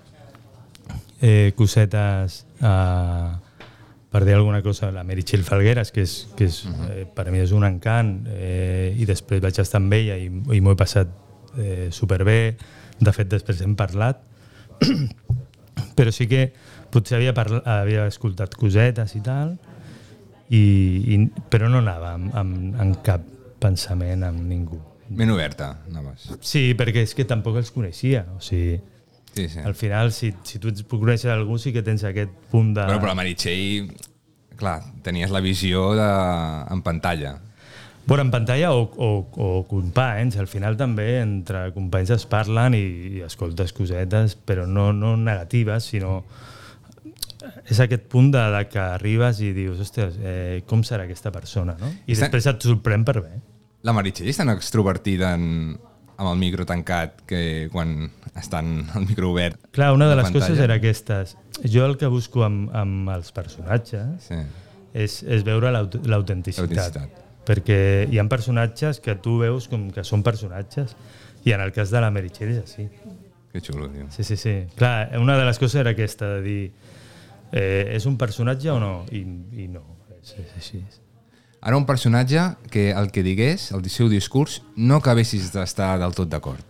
[SPEAKER 4] eh, cosetes eh, per dir alguna cosa, la Meritxell Falgueras, que, és, que és, eh, per mi és un encant, eh, i després vaig estar amb ella i, i m'ho he passat eh, superbé, de fet després hem parlat, *clears throat* però sí que potser havia, parla, havia escoltat cosetes i tal, i, i, però no anava amb, amb, amb cap pensament amb ningú.
[SPEAKER 2] Ben oberta, anaves.
[SPEAKER 4] Sí, perquè és que tampoc els coneixia, o sigui...
[SPEAKER 2] Sí, sí.
[SPEAKER 4] Al final, si, si tu ets coneixes algú, sí que tens aquest punt de...
[SPEAKER 2] Bueno, però la Meritxell, clar, tenies la visió de... en pantalla.
[SPEAKER 4] Bueno, en pantalla o, o, o companys, al final també entre companys es parlen i, i escoltes cosetes, però no, no negatives, sinó és aquest punt de, de que arribes i dius, ostres, eh, com serà aquesta persona, no? I
[SPEAKER 2] Està-
[SPEAKER 4] després et sorprèn per bé.
[SPEAKER 2] La Meritxell és tan extrovertida en, amb el micro tancat que quan estan al micro obert.
[SPEAKER 4] Clar, una de
[SPEAKER 2] La
[SPEAKER 4] les
[SPEAKER 2] pantalla.
[SPEAKER 4] coses era aquestes. Jo el que busco amb, amb els personatges
[SPEAKER 2] Sí.
[SPEAKER 4] és, és veure l'aut- l'autenticitat.
[SPEAKER 2] L'autenticitat.
[SPEAKER 4] Perquè hi ha personatges que tu veus com que són personatges i en el cas de la Meritxell és així.
[SPEAKER 2] Que xulo, tio.
[SPEAKER 4] Sí, sí, sí. Clar, una de les coses era aquesta, de dir eh, és un personatge o no? I, i no, és, és així.
[SPEAKER 2] Ara un personatge que el que digués, el seu discurs, no acabessis d'estar del tot d'acord.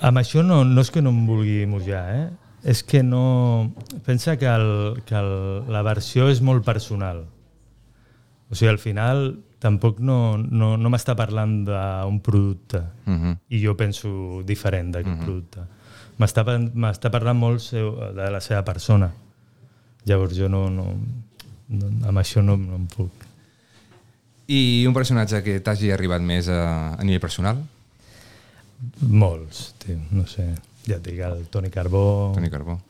[SPEAKER 4] Amb això no, no és que no em vulgui mullar, eh? És que no... Pensa que, el, que el, la versió és molt personal. O sigui, al final tampoc no, no, no m'està parlant d'un producte
[SPEAKER 2] Uh -huh.
[SPEAKER 4] i jo penso diferent d'aquest
[SPEAKER 2] Mhm.
[SPEAKER 4] producte. M'està pa- M'està parlant molt seu, de la seva persona. Llavors jo no, no, no, amb això no, no em puc.
[SPEAKER 2] I un personatge que t'hagi arribat més a, a nivell personal?
[SPEAKER 4] Molts, tio, no sé. Ja et dic, el Toni Carbó,
[SPEAKER 2] Toni Carbó.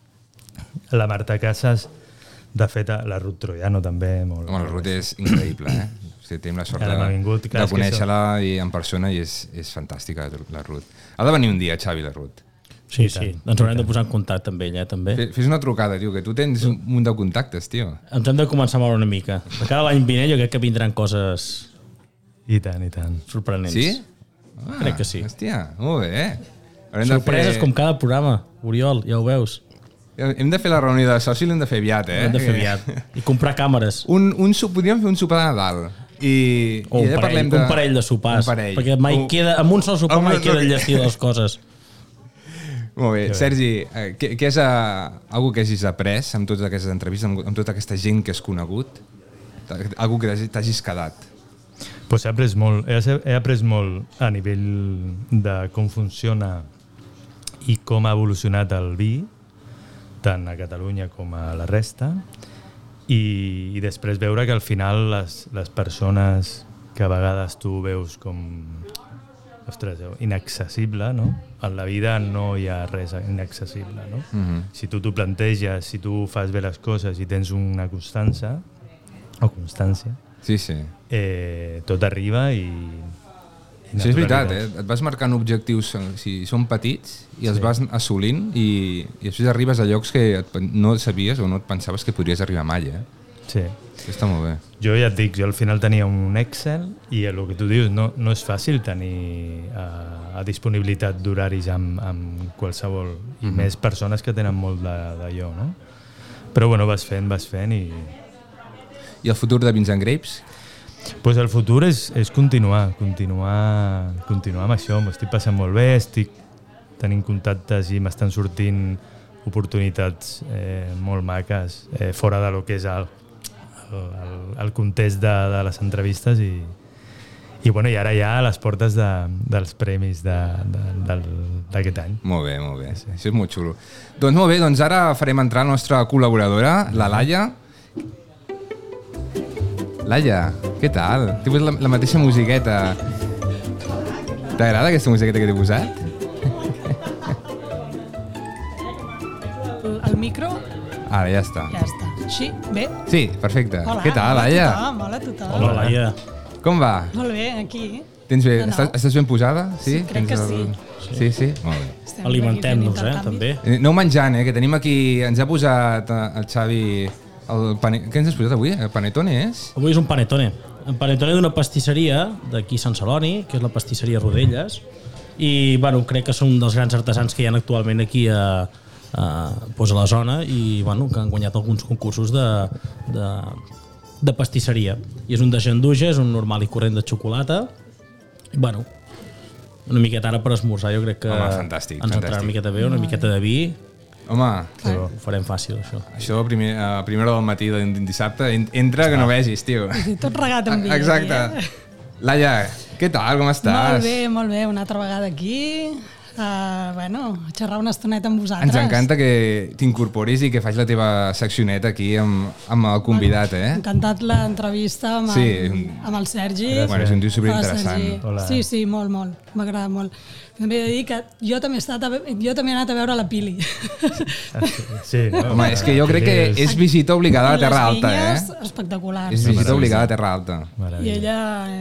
[SPEAKER 4] la Marta Casas, de fet, la Ruth Troiano també, molt.
[SPEAKER 2] Home, el Ruth és increïble, eh? O sigui, tenim la sort
[SPEAKER 4] Ara m'ha vingut,
[SPEAKER 2] de,
[SPEAKER 4] clar,
[SPEAKER 2] de
[SPEAKER 4] és que
[SPEAKER 2] conèixer-la i en persona i és, és fantàstica, la Ruth. Ha de venir un dia, Xavi, la Ruth.
[SPEAKER 3] Sí, sí. Ens haurem de posar en contacte amb ella, també.
[SPEAKER 2] Fe- Fes una trucada, tio, que tu tens un munt de contactes, tio.
[SPEAKER 3] Ens hem de començar a moure una mica. De cara a l'any vinent jo crec que vindran coses
[SPEAKER 4] I tant, i tant.
[SPEAKER 3] sorprenents.
[SPEAKER 2] Sí? Ah,
[SPEAKER 3] Crec que sí.
[SPEAKER 2] Hòstia, molt bé, eh? Haurem de
[SPEAKER 3] Sorpreses com cada programa. Oriol, ja ho veus.
[SPEAKER 2] Hem de fer la reunió de soci, l'hem de fer aviat, eh?
[SPEAKER 3] Hem de fer aviat. I comprar càmeres.
[SPEAKER 2] Un, un, so- podríem fer un sopar de Nadal. I,
[SPEAKER 3] O
[SPEAKER 2] i
[SPEAKER 3] un
[SPEAKER 2] allà
[SPEAKER 3] parell,
[SPEAKER 2] parlem
[SPEAKER 3] de... un parell de sopars.
[SPEAKER 2] Un parell.
[SPEAKER 3] Perquè mai
[SPEAKER 2] Un-
[SPEAKER 3] queda, amb un sol sopar
[SPEAKER 2] Home,
[SPEAKER 3] mai
[SPEAKER 2] no-
[SPEAKER 3] queda enllestida les coses.
[SPEAKER 2] Molt bé. Sergi, eh, què, què és eh, algo que hagis après amb totes aquestes entrevistes, amb, amb tota aquesta gent que has conegut? Ta- Algo que t'hagi- t'hagis quedat?
[SPEAKER 4] Pues he après molt, he, he après molt a nivell de com funciona i com ha evolucionat el vi, tant a Catalunya com a la resta, i, i després veure que al final les, les persones que a vegades tu veus com ostres, eh, inaccessible, no? En la vida no hi ha res inaccessible, no? Si tu t'ho planteges, si tu fas bé les coses i tens una constància, o constància,
[SPEAKER 2] Sí, sí.
[SPEAKER 4] eh, tot arriba i... i
[SPEAKER 2] Sí, és veritat, eh?
[SPEAKER 4] naturalitat.
[SPEAKER 2] et vas marcant objectius eh, si són petits i els vas assolint i, i després arribes a llocs que et, pen- no sabies o no et pensaves que podries arribar mai, eh?
[SPEAKER 4] Sí.
[SPEAKER 2] Això Està molt bé.
[SPEAKER 4] Jo ja et dic, jo al final tenia un Excel i el que tu dius, no, no és fàcil tenir eh, a, a disponibilitat d'horaris amb, amb qualsevol, i
[SPEAKER 2] Mhm.
[SPEAKER 4] més persones que tenen molt de- d'allò, no? Però bueno, vas fent, vas fent i...
[SPEAKER 2] I el futur de Vincent Grapes?
[SPEAKER 4] pues el futur és, és continuar, continuar, continuar amb això, m'ho estic passant molt bé, estic tenint contactes i m'estan sortint oportunitats eh, molt maques eh, fora de lo que és el, el, el, el context de, de les entrevistes i, i, bueno, i ara ja a les portes de, dels premis de- de- del- d'aquest any.
[SPEAKER 2] *laughs* Molt bé, molt bé. Això és molt xulo. Doncs molt bé, doncs ara farem entrar la nostra col·laboradora, la Laia. Laia, què tal? T'he posat la, la mateixa musiqueta. T'agrada aquesta musiqueta que t'he posat?
[SPEAKER 5] El, el micro
[SPEAKER 2] Ara ja està.
[SPEAKER 5] ja està. Així, bé?
[SPEAKER 2] Sí, perfecte.
[SPEAKER 5] Hola,
[SPEAKER 2] què tal,
[SPEAKER 5] hola
[SPEAKER 2] Laia?
[SPEAKER 5] a tothom, hola a tothom.
[SPEAKER 3] Hola, Laia.
[SPEAKER 2] Com va?
[SPEAKER 5] Molt bé, aquí.
[SPEAKER 2] Tens bé?
[SPEAKER 5] No, no.
[SPEAKER 2] Estàs, estàs ben posada? Sí,
[SPEAKER 5] Sí, crec
[SPEAKER 2] Tens
[SPEAKER 5] que
[SPEAKER 2] Sí, sí? Molt bé.
[SPEAKER 5] Estem
[SPEAKER 3] Alimentem-nos,
[SPEAKER 5] aquí fent
[SPEAKER 3] eh,
[SPEAKER 5] intercanvi.
[SPEAKER 3] també.
[SPEAKER 2] Eh, Aneu menjant, eh, que tenim aquí... Ens ha posat eh, el Xavi... El pane... Què ens has posat avui? El panetone, és?
[SPEAKER 3] Avui és un panetone. Un panetone d'una pastisseria d'aquí a Sant Celoni, que és la pastisseria Rodelles. I, bueno, crec que són un dels grans artesans que hi ha actualment aquí a, a, doncs a la zona i, bueno, que han guanyat alguns concursos de, de, de pastisseria. I és un de genduja, és un normal i corrent de xocolata. I, bueno, una miqueta ara per esmorzar, jo crec que
[SPEAKER 2] Home, fantàstic,
[SPEAKER 3] ens
[SPEAKER 2] fantàstic.
[SPEAKER 3] entrarà una miqueta bé, una miqueta de vi,
[SPEAKER 2] Home,
[SPEAKER 3] però ho farem fàcil, això.
[SPEAKER 2] Això a, primer, a primera hora del matí de dissabte, en- entra que no vegis, tio.
[SPEAKER 5] *laughs* Sí, tot regat amb vi.
[SPEAKER 2] Ah, Exacte. Laia, què tal, com estàs?
[SPEAKER 5] eh? Molt bé, molt bé, una altra vegada aquí. Uh, bueno, a xerrar una estoneta amb vosaltres.
[SPEAKER 2] Ens encanta que t'incorporis i que facis la teva seccioneta aquí amb, amb el convidat, eh?
[SPEAKER 5] M'ha encantat l'entrevista amb,
[SPEAKER 2] Sí,
[SPEAKER 5] sí.
[SPEAKER 2] un-
[SPEAKER 5] amb el Sergi.
[SPEAKER 2] Bueno, és un tio
[SPEAKER 5] Hola,
[SPEAKER 2] superinteressant.
[SPEAKER 5] Sergi.
[SPEAKER 4] Hola.
[SPEAKER 5] Sí, sí, molt, molt. M'ha agradat molt. També he de dir que jo també he, estat a, ve- jo també he anat a veure la Pili.
[SPEAKER 4] Sí, no?
[SPEAKER 2] Home, és que jo crec que és visita obligada a
[SPEAKER 5] Les
[SPEAKER 2] Terra Alta,
[SPEAKER 5] vinyes,
[SPEAKER 2] eh?
[SPEAKER 5] Espectacular.
[SPEAKER 2] És visita obligada a Terra Alta.
[SPEAKER 5] I ella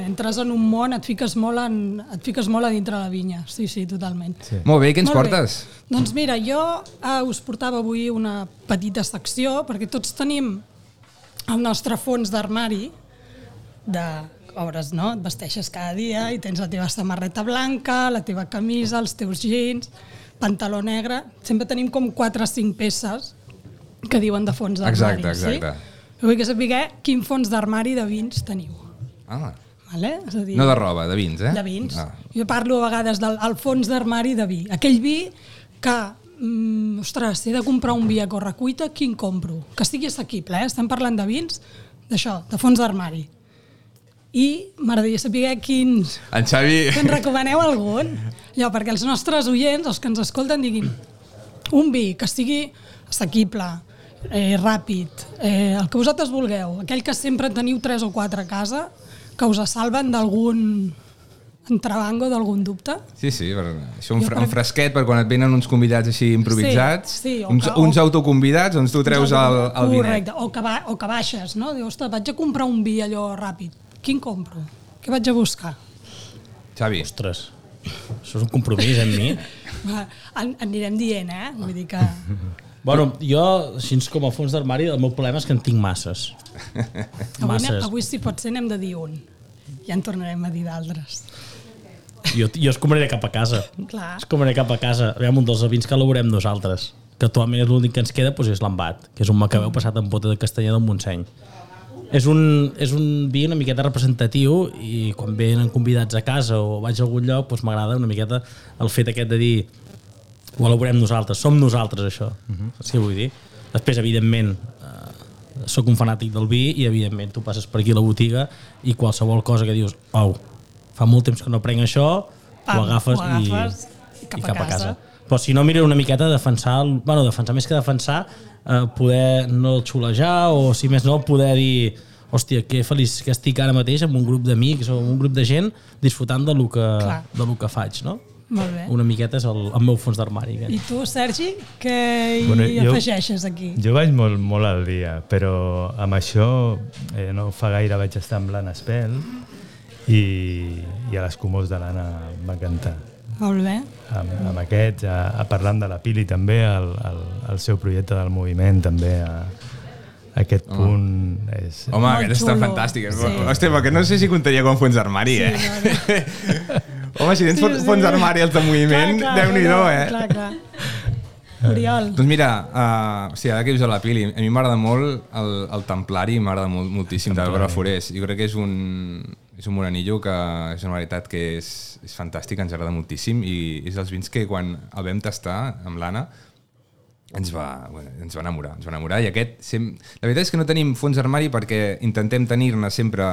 [SPEAKER 5] entres en un món, et fiques molt, en, et fiques molt a dintre la vinya. Sí, sí, totalment. Sí.
[SPEAKER 2] Molt bé, què ens portes?
[SPEAKER 5] Doncs mira, jo eh, us portava avui una petita secció, perquè tots tenim el nostre fons d'armari de obres, no? Et vesteixes cada dia i tens la teva samarreta blanca, la teva camisa, els teus jeans, pantaló negre... Sempre tenim com 4 o 5 peces que diuen de fons d'armari.
[SPEAKER 2] Exacte, exacte.
[SPEAKER 5] Sí? Jo vull que sapigueu quin fons d'armari de vins teniu.
[SPEAKER 2] Ah,
[SPEAKER 5] Vale? És a dir,
[SPEAKER 2] no de roba, de vins, eh?
[SPEAKER 5] de vins.
[SPEAKER 2] Ah.
[SPEAKER 5] Jo parlo a vegades del al fons d'armari de vi. Aquell vi que, mm, ostres, he de comprar un vi a correcuita, quin compro? Que estigui assequible, eh? Estem parlant de vins, d'això, de fons d'armari. I m'agradaria saber quins...
[SPEAKER 2] En Xavi...
[SPEAKER 5] Que en recomaneu algun? Allò, perquè els nostres oients, els que ens escolten, diguin un vi que sigui assequible, eh, ràpid, eh, el que vosaltres vulgueu, aquell que sempre teniu tres o quatre a casa, que us salven d'algun entrebango, d'algun dubte.
[SPEAKER 2] Sí, sí, per, això un, fre un fresquet per quan et venen uns convidats així improvisats,
[SPEAKER 5] Sí, sí, o
[SPEAKER 2] uns,
[SPEAKER 5] que- o-
[SPEAKER 2] uns autoconvidats, doncs tu treus el, el vinet.
[SPEAKER 5] Correcte, o que, ba o que baixes, no? Dius, ostres, vaig a comprar un vi allò ràpid. Quin compro? Què vaig a buscar?
[SPEAKER 2] Xavi,
[SPEAKER 3] Ostres, això és un compromís eh, amb mi.
[SPEAKER 5] Va, en, anirem dient, eh? Vull dir que...
[SPEAKER 3] Bueno, jo, així com a fons d'armari, el meu problema és que en tinc masses.
[SPEAKER 5] Avui,
[SPEAKER 3] Masses.
[SPEAKER 5] anem, avui, si pot ser, n'hem de dir un. Ja en tornarem a dir d'altres.
[SPEAKER 3] Jo, jo escombraré cap a casa.
[SPEAKER 5] Clar.
[SPEAKER 3] Escombraré cap a casa. Aviam, un dels vins que elaborem nosaltres, que actualment és l'únic que ens queda, doncs és l'embat, que és un macabeu passat en bota de castanyà del Montseny. És un, és un vi una miqueta representatiu i quan venen convidats a casa o vaig a algun lloc doncs m'agrada una miqueta el fet aquest de dir ho elaborem nosaltres, som nosaltres això, uh -huh. sí vull dir. Després, evidentment, eh, sóc un fanàtic del vi i, evidentment, tu passes per aquí a la botiga i qualsevol cosa que dius, au, fa molt temps que no prenc això,
[SPEAKER 5] Pam,
[SPEAKER 3] ho agafes,
[SPEAKER 5] ho agafes
[SPEAKER 3] i, i, cap, a casa. Però si no, mira una miqueta a defensar, el- bueno, defensar més que defensar, eh, poder no xulejar o, si més no, poder dir hòstia, que feliç que estic ara mateix amb un grup d'amics o amb un grup de gent disfrutant de lo que,
[SPEAKER 5] Clar.
[SPEAKER 3] de lo que faig, no?
[SPEAKER 5] Molt bé.
[SPEAKER 3] Eh? una miqueta és el, el meu fons d'armari. aquest.
[SPEAKER 5] I tu, Sergi, què hi
[SPEAKER 4] Bueno,
[SPEAKER 5] bueno,
[SPEAKER 4] jo-
[SPEAKER 5] afegeixes aquí?
[SPEAKER 4] Jo vaig molt, molt al dia, però amb això eh, no fa gaire vaig estar amb l'Anna Espel i, i a les comors de l'Anna em va encantar.
[SPEAKER 5] Molt bé.
[SPEAKER 4] Amb, amb aquests, a, a parlant de la Pili també, el, el, el seu projecte del moviment també, a, a aquest punt és...
[SPEAKER 2] home, aquest està
[SPEAKER 5] xulo.
[SPEAKER 2] fantàstic. Sí. Hòstia, però que no sé si comptaria com fons d'armari, eh? *laughs* home, si tens sí, fons d'armari els de moviment, déu-n'hi-do, eh?
[SPEAKER 5] Clar, clar. Oriol,
[SPEAKER 2] Doncs mira, uh, sí, ara que dius a la Pili, a mi m'agrada molt el, el Templari, m'agrada molt, moltíssim, de Barbara Forés. Jo crec que és un, és un moranillo que és una varietat que és, és fantàstica, ens agrada moltíssim i és dels vins que quan el vam tastar amb l'Anna ens va, bueno, ens va enamorar, ens va enamorar i aquest, sem... la veritat és que no tenim fons d'armari perquè intentem tenir-ne sempre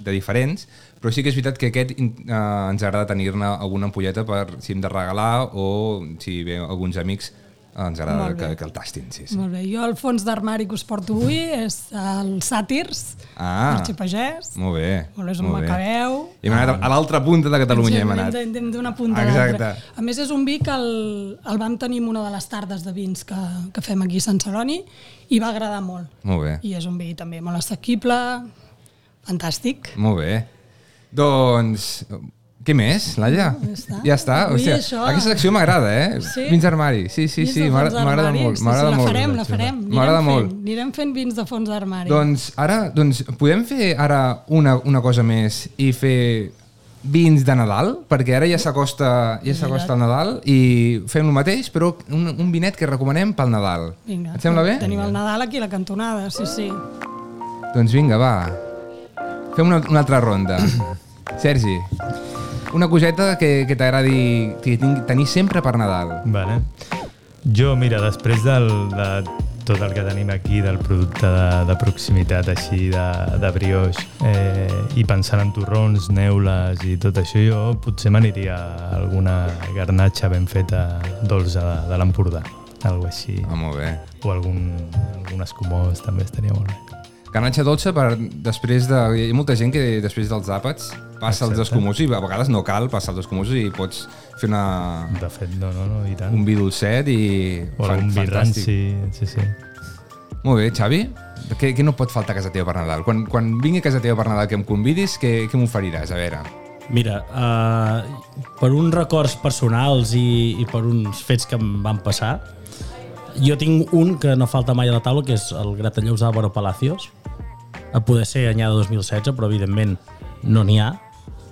[SPEAKER 2] de diferents, però sí que és veritat que aquest eh, ens agrada tenir-ne alguna ampolleta per si hem de regalar o si ve alguns amics eh, ens agrada
[SPEAKER 5] Molt bé.
[SPEAKER 2] que, que el tastin, sí, sí.
[SPEAKER 5] molt bé. Jo el fons d'armari que us porto avui és el Sàtirs, ah.
[SPEAKER 2] Ah,
[SPEAKER 5] Arxipagès.
[SPEAKER 2] molt bé.
[SPEAKER 5] Molt bé, és un
[SPEAKER 2] molt bé.
[SPEAKER 5] macabeu.
[SPEAKER 2] I hem anat a l'altra punta de Catalunya, hem anat.
[SPEAKER 5] Hem, hem d'una punta a
[SPEAKER 2] Exacte.
[SPEAKER 5] l'altra. A més, és un vi que el, el vam tenir en una de les tardes de vins que, que fem aquí a Sant Celoni i va agradar molt.
[SPEAKER 2] Molt bé.
[SPEAKER 5] I és un vi també molt assequible, fantàstic.
[SPEAKER 2] Molt bé. Doncs... Què més, Laia?
[SPEAKER 5] Ja està.
[SPEAKER 2] Ja està.
[SPEAKER 5] Avui
[SPEAKER 2] Hòstia,
[SPEAKER 5] això-
[SPEAKER 2] aquesta secció m'agrada, eh?
[SPEAKER 5] Sí?
[SPEAKER 2] Vins d'armari. Sí, sí,
[SPEAKER 5] Vins
[SPEAKER 2] sí,
[SPEAKER 5] de fons
[SPEAKER 2] m'agrada m'agrada
[SPEAKER 5] d'armari,
[SPEAKER 2] molt.
[SPEAKER 5] sí, sí,
[SPEAKER 2] M'agrada
[SPEAKER 5] la
[SPEAKER 2] molt.
[SPEAKER 5] farem, la farem. Anirem
[SPEAKER 2] M'agrada
[SPEAKER 5] fent,
[SPEAKER 2] molt.
[SPEAKER 5] Anirem fent vins de fons d'armari.
[SPEAKER 2] Doncs ara, doncs, podem fer ara una, una cosa més i fer vins de Nadal, perquè ara ja s'acosta ja s'acosta el Nadal i fem el mateix, però un, un vinet que recomanem pel Nadal.
[SPEAKER 5] Vinga.
[SPEAKER 2] Et sembla bé?
[SPEAKER 5] Tenim el Nadal aquí a la cantonada, sí, sí.
[SPEAKER 2] Doncs vinga, va. Fem una, una altra *clears throat* ronda. Sergi, una coseta que, que t'agradi que tingui- tenir sempre per Nadal.
[SPEAKER 4] Vale. Jo, mira, després del, de tot el que tenim aquí, del producte de, de proximitat així, de, de brioix, eh, i pensant en torrons, neules i tot això, jo potser m'aniria a alguna garnatxa ben feta dolça de, de l'Empordà, alguna així.
[SPEAKER 2] Ah, molt bé.
[SPEAKER 4] O algun, algun escumós també estaria molt bé.
[SPEAKER 2] Garnatxa dolça per després de... Hi ha molta gent que després dels àpats passa els escumosos i a vegades no cal passar els escumosos i pots fer una,
[SPEAKER 4] De fet, no, no, no, i tant.
[SPEAKER 2] un vi dolcet i...
[SPEAKER 4] o
[SPEAKER 2] fan-
[SPEAKER 4] algun vi
[SPEAKER 2] fantàstic.
[SPEAKER 4] ranci, sí, sí.
[SPEAKER 2] Molt bé, Xavi. Què, què no pot faltar a casa teva per Nadal? Quan, quan vingui a casa teva per Nadal que em convidis, què, què m'oferiràs? A veure...
[SPEAKER 3] Mira, uh, per uns records personals i, i per uns fets que em van passar, jo tinc un que no falta mai a la taula, que és el gratallops d'Álvaro Palacios, a poder ser anyada 2016, però evidentment no n'hi ha.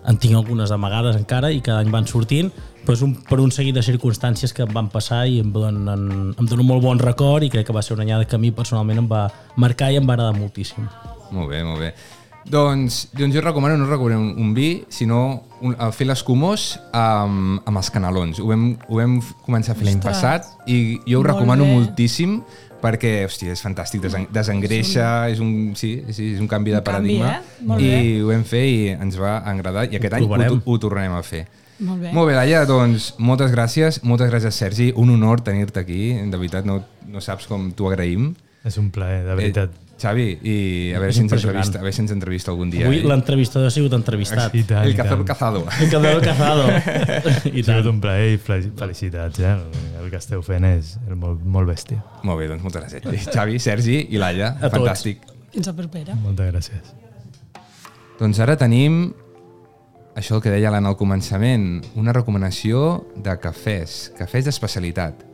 [SPEAKER 3] En tinc algunes amagades encara i cada any van sortint, però és un, per un seguit de circumstàncies que em van passar i em donen, em donen un molt bon record i crec que va ser una anyada que a mi personalment em va marcar i em va agradar moltíssim.
[SPEAKER 2] Molt bé, molt bé. Doncs, doncs jo recomano, no recomano un, un vi, sinó un, a fer l'escumós amb, amb els canelons. Ho vam, ho vam f- començar a fer l'any passat i jo ho recomano
[SPEAKER 5] bé. Mm.
[SPEAKER 2] moltíssim perquè, hòstia, és fantàstic, desen, desengreixa, és un, sí, sí, és un canvi de
[SPEAKER 5] Un canvi,
[SPEAKER 2] paradigma
[SPEAKER 5] eh? Molt
[SPEAKER 2] i ho vam fer i ens va agradar i aquest any ho,
[SPEAKER 3] provarem.
[SPEAKER 2] to- ho tornarem a fer.
[SPEAKER 5] Molt bé.
[SPEAKER 2] Molt bé, Laia, doncs moltes gràcies, moltes gràcies, Sergi, un honor tenir-te aquí, de veritat, no, no saps com t'ho agraïm.
[SPEAKER 4] És un plaer, de veritat.
[SPEAKER 2] Eh, Xavi, i a veure, si ens
[SPEAKER 3] impressionant.
[SPEAKER 2] entrevista, a veure si ens entrevista algun dia.
[SPEAKER 3] Avui
[SPEAKER 2] eh?
[SPEAKER 3] l'entrevistador ha sigut entrevistat. *laughs*
[SPEAKER 4] I tant,
[SPEAKER 2] El
[SPEAKER 4] i
[SPEAKER 2] cazador
[SPEAKER 4] tant.
[SPEAKER 2] cazado. *laughs*
[SPEAKER 3] El Cabello Casado. I
[SPEAKER 4] Ha sigut
[SPEAKER 3] tant.
[SPEAKER 4] un plaer i fel- felicitats, eh? El, el que esteu fent és el molt, molt bèstia.
[SPEAKER 2] Molt bé, doncs moltes gràcies. Xavi, Sergi i Laia,
[SPEAKER 3] A tots.
[SPEAKER 2] fantàstic.
[SPEAKER 5] Fins la propera.
[SPEAKER 4] Moltes gràcies.
[SPEAKER 2] Doncs ara tenim això el que deia l'Anna al començament, una recomanació de cafès, cafès d'especialitat.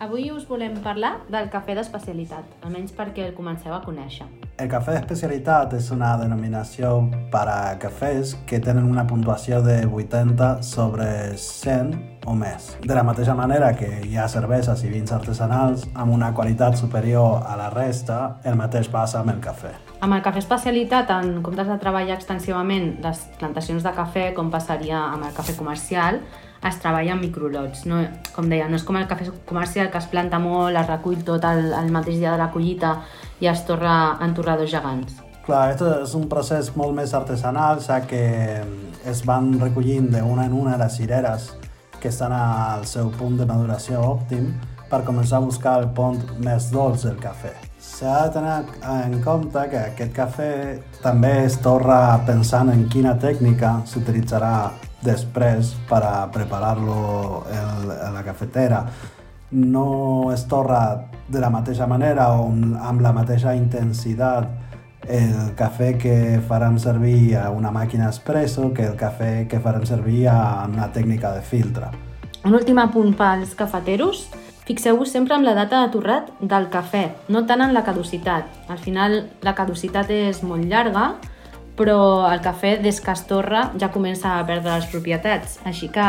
[SPEAKER 7] Avui us volem parlar del cafè d'especialitat, almenys perquè el comenceu a conèixer.
[SPEAKER 8] El cafè d'especialitat és una denominació per a cafès que tenen una puntuació de 80 sobre 100 o més. De la mateixa manera que hi ha cerveses i vins artesanals amb una qualitat superior a la resta, el mateix passa amb el cafè.
[SPEAKER 7] Amb el cafè especialitat, en comptes de treballar extensivament les plantacions de cafè, com passaria amb el cafè comercial, es treballa en microlots. No, com deia, no és com el cafè comercial que es planta molt, es recull tot el, el mateix dia de la collita i es torra en torradors gegants.
[SPEAKER 8] Clar, esto és un procés molt més artesanal, ja que mm, es van recollint d'una en una les cireres que estan al seu punt de maduració òptim per començar a buscar el punt més dolç del cafè. S'ha de tenir en compte que aquest cafè també es torra pensant en quina tècnica s'utilitzarà després per a preparar-lo en a la cafetera no es torra de la mateixa manera o amb amb la mateixa intensitat el cafè que farem servir a una màquina espresso que el cafè que farem servir a una tècnica de filtre.
[SPEAKER 7] Un últim apunt pels cafeteros. Fixeu-vos sempre amb la data de torrat del cafè, no tant en la caducitat. Al final la caducitat és molt llarga, però el cafè des que es torra ja comença a perdre les propietats. Així que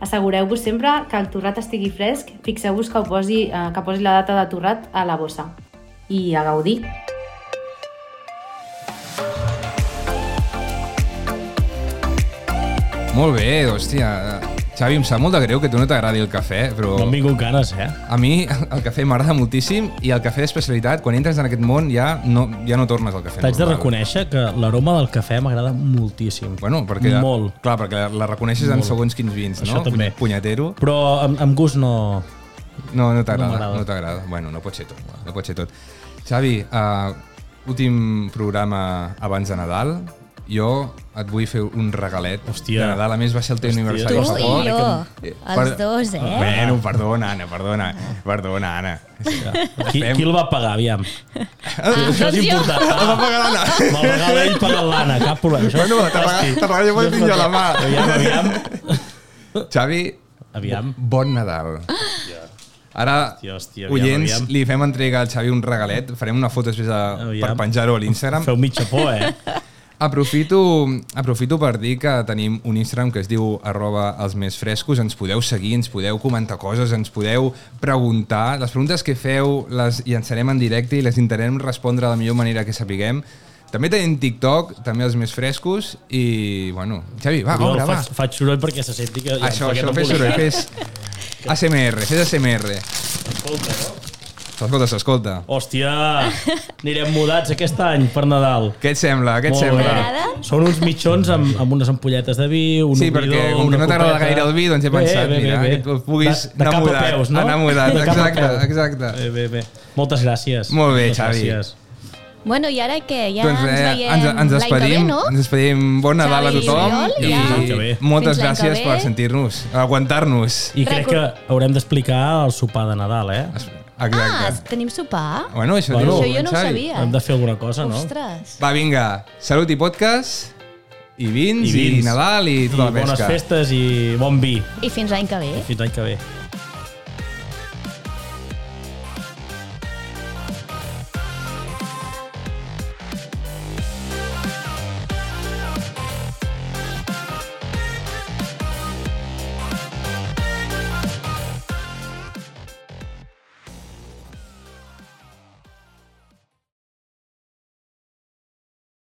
[SPEAKER 7] assegureu-vos sempre que el torrat estigui fresc, fixeu-vos que, ho posi, eh, que posi la data de torrat a la bossa. I a gaudir.
[SPEAKER 2] Molt bé, hòstia. Xavi, em sap molt de greu que a tu no t'agradi el cafè, però...
[SPEAKER 3] No han vingut ganes, eh?
[SPEAKER 2] A mi el cafè m'agrada moltíssim i el cafè d'especialitat, quan entres en aquest món, ja no, ja no tornes al cafè
[SPEAKER 3] T'haig de
[SPEAKER 2] normal.
[SPEAKER 3] reconèixer que l'aroma del cafè m'agrada moltíssim.
[SPEAKER 2] Bueno, perquè, la,
[SPEAKER 3] Molt.
[SPEAKER 2] Clar, perquè la, la reconeixes en segons quins vins,
[SPEAKER 3] Això
[SPEAKER 2] no?
[SPEAKER 3] també.
[SPEAKER 2] Punyatero.
[SPEAKER 3] Però amb, amb gust no...
[SPEAKER 2] No, no t'agrada,
[SPEAKER 3] m'agrada.
[SPEAKER 2] no t'agrada. bueno, no pot ser tot, no pot ser tot. Xavi, uh, últim programa abans de Nadal. Jo et vull fer un regalet
[SPEAKER 3] Hòstia.
[SPEAKER 2] de Nadal. A més, va ser el teu aniversari
[SPEAKER 1] Tu
[SPEAKER 2] fa
[SPEAKER 1] i
[SPEAKER 2] poc.
[SPEAKER 1] jo,
[SPEAKER 2] Eh,
[SPEAKER 1] els dos, eh?
[SPEAKER 2] Bueno, perdona, Ana, perdona. Perdona, Ana.
[SPEAKER 3] *laughs* Qui,
[SPEAKER 2] Fem.
[SPEAKER 3] qui el va pagar, aviam? Ah, Això és
[SPEAKER 1] doncs jo.
[SPEAKER 3] important.
[SPEAKER 2] Va pagar l'Anna.
[SPEAKER 3] Me'l
[SPEAKER 2] *laughs*
[SPEAKER 3] regala ell pagant l'Anna, cap problema. Això és
[SPEAKER 2] Bueno, te regalo- te regalo, jo vull
[SPEAKER 3] Fantàstic.
[SPEAKER 2] tinc jo la mà.
[SPEAKER 3] Aviam, aviam.
[SPEAKER 2] Xavi,
[SPEAKER 3] Aviam.
[SPEAKER 2] bon Nadal. Ara,
[SPEAKER 3] Hòstia, hòstia, aviam,
[SPEAKER 2] oients,
[SPEAKER 3] aviam.
[SPEAKER 2] li fem entregar al Xavi un regalet. Farem una foto després de, per
[SPEAKER 3] Aviam.
[SPEAKER 2] penjar-ho a l'Instagram.
[SPEAKER 3] Feu mitja por, eh?
[SPEAKER 2] Aprofito, aprofito per dir que tenim un Instagram que es diu arroba els més frescos, ens podeu seguir, ens podeu comentar coses, ens podeu preguntar. Les preguntes que feu les llançarem en directe i les intentarem respondre de la millor manera que sapiguem. També tenim TikTok, també els més frescos, i, bueno, Xavi, va,
[SPEAKER 3] Jo
[SPEAKER 2] obre, va.
[SPEAKER 3] faig, faig soroll perquè se senti que... ja
[SPEAKER 2] Ah, Això,
[SPEAKER 3] fa
[SPEAKER 2] això,
[SPEAKER 3] aquesta
[SPEAKER 2] fes soroll,
[SPEAKER 3] publicitat.
[SPEAKER 2] fes ASMR, fes ASMR. S'escolta, s'escolta.
[SPEAKER 3] Hòstia, anirem mudats aquest any per Nadal.
[SPEAKER 2] Què et sembla, què et
[SPEAKER 3] Molt
[SPEAKER 2] sembla?
[SPEAKER 3] bé. Són uns mitjons amb, amb unes ampolletes de vi, un
[SPEAKER 2] Sí,
[SPEAKER 3] obridor,
[SPEAKER 2] perquè com que
[SPEAKER 3] una
[SPEAKER 2] no t'agrada
[SPEAKER 3] copeta.
[SPEAKER 2] gaire el vi, doncs he pensat, mira, que et puguis
[SPEAKER 3] de, de
[SPEAKER 2] anar
[SPEAKER 3] cap
[SPEAKER 2] mudat,
[SPEAKER 3] a peus, no?
[SPEAKER 2] anar mudat,
[SPEAKER 3] De cap a
[SPEAKER 2] exacte,
[SPEAKER 3] peus.
[SPEAKER 2] exacte.
[SPEAKER 3] Bé, bé, bé. Moltes gràcies.
[SPEAKER 2] Molt bé,
[SPEAKER 3] Moltes
[SPEAKER 2] Xavi.
[SPEAKER 3] gràcies.
[SPEAKER 1] Bueno, i ara què? Ja
[SPEAKER 2] doncs
[SPEAKER 1] ens
[SPEAKER 2] eh,
[SPEAKER 1] veiem
[SPEAKER 2] ens, ens
[SPEAKER 1] l'any que ve,
[SPEAKER 2] despedim,
[SPEAKER 1] no?
[SPEAKER 2] ens despedim. Bon Nadal a
[SPEAKER 1] Xavi i
[SPEAKER 2] tothom
[SPEAKER 1] Oriol,
[SPEAKER 2] i,
[SPEAKER 1] ja.
[SPEAKER 3] Fins l'any que ve.
[SPEAKER 2] moltes
[SPEAKER 1] Fins l'any que
[SPEAKER 2] gràcies
[SPEAKER 1] ve.
[SPEAKER 2] per sentir-nos, aguantar-nos.
[SPEAKER 3] I crec que haurem d'explicar el sopar de Nadal, eh?
[SPEAKER 1] Ah,
[SPEAKER 2] Exacte.
[SPEAKER 1] tenim sopar?
[SPEAKER 2] Bueno, això,
[SPEAKER 3] Bueno,
[SPEAKER 2] diu
[SPEAKER 1] Això jo
[SPEAKER 2] en
[SPEAKER 1] no ho
[SPEAKER 2] Xavi.
[SPEAKER 1] sabia.
[SPEAKER 3] Hem de fer alguna cosa, no?
[SPEAKER 1] Ostres.
[SPEAKER 2] Va, vinga, salut i podcast, i vins,
[SPEAKER 3] I
[SPEAKER 2] i,
[SPEAKER 3] vins.
[SPEAKER 2] Nadal i
[SPEAKER 3] I
[SPEAKER 2] tota la
[SPEAKER 3] bones
[SPEAKER 2] pesca.
[SPEAKER 3] festes i bon vi.
[SPEAKER 1] I fins l'any que ve.
[SPEAKER 3] Fins l'any que ve.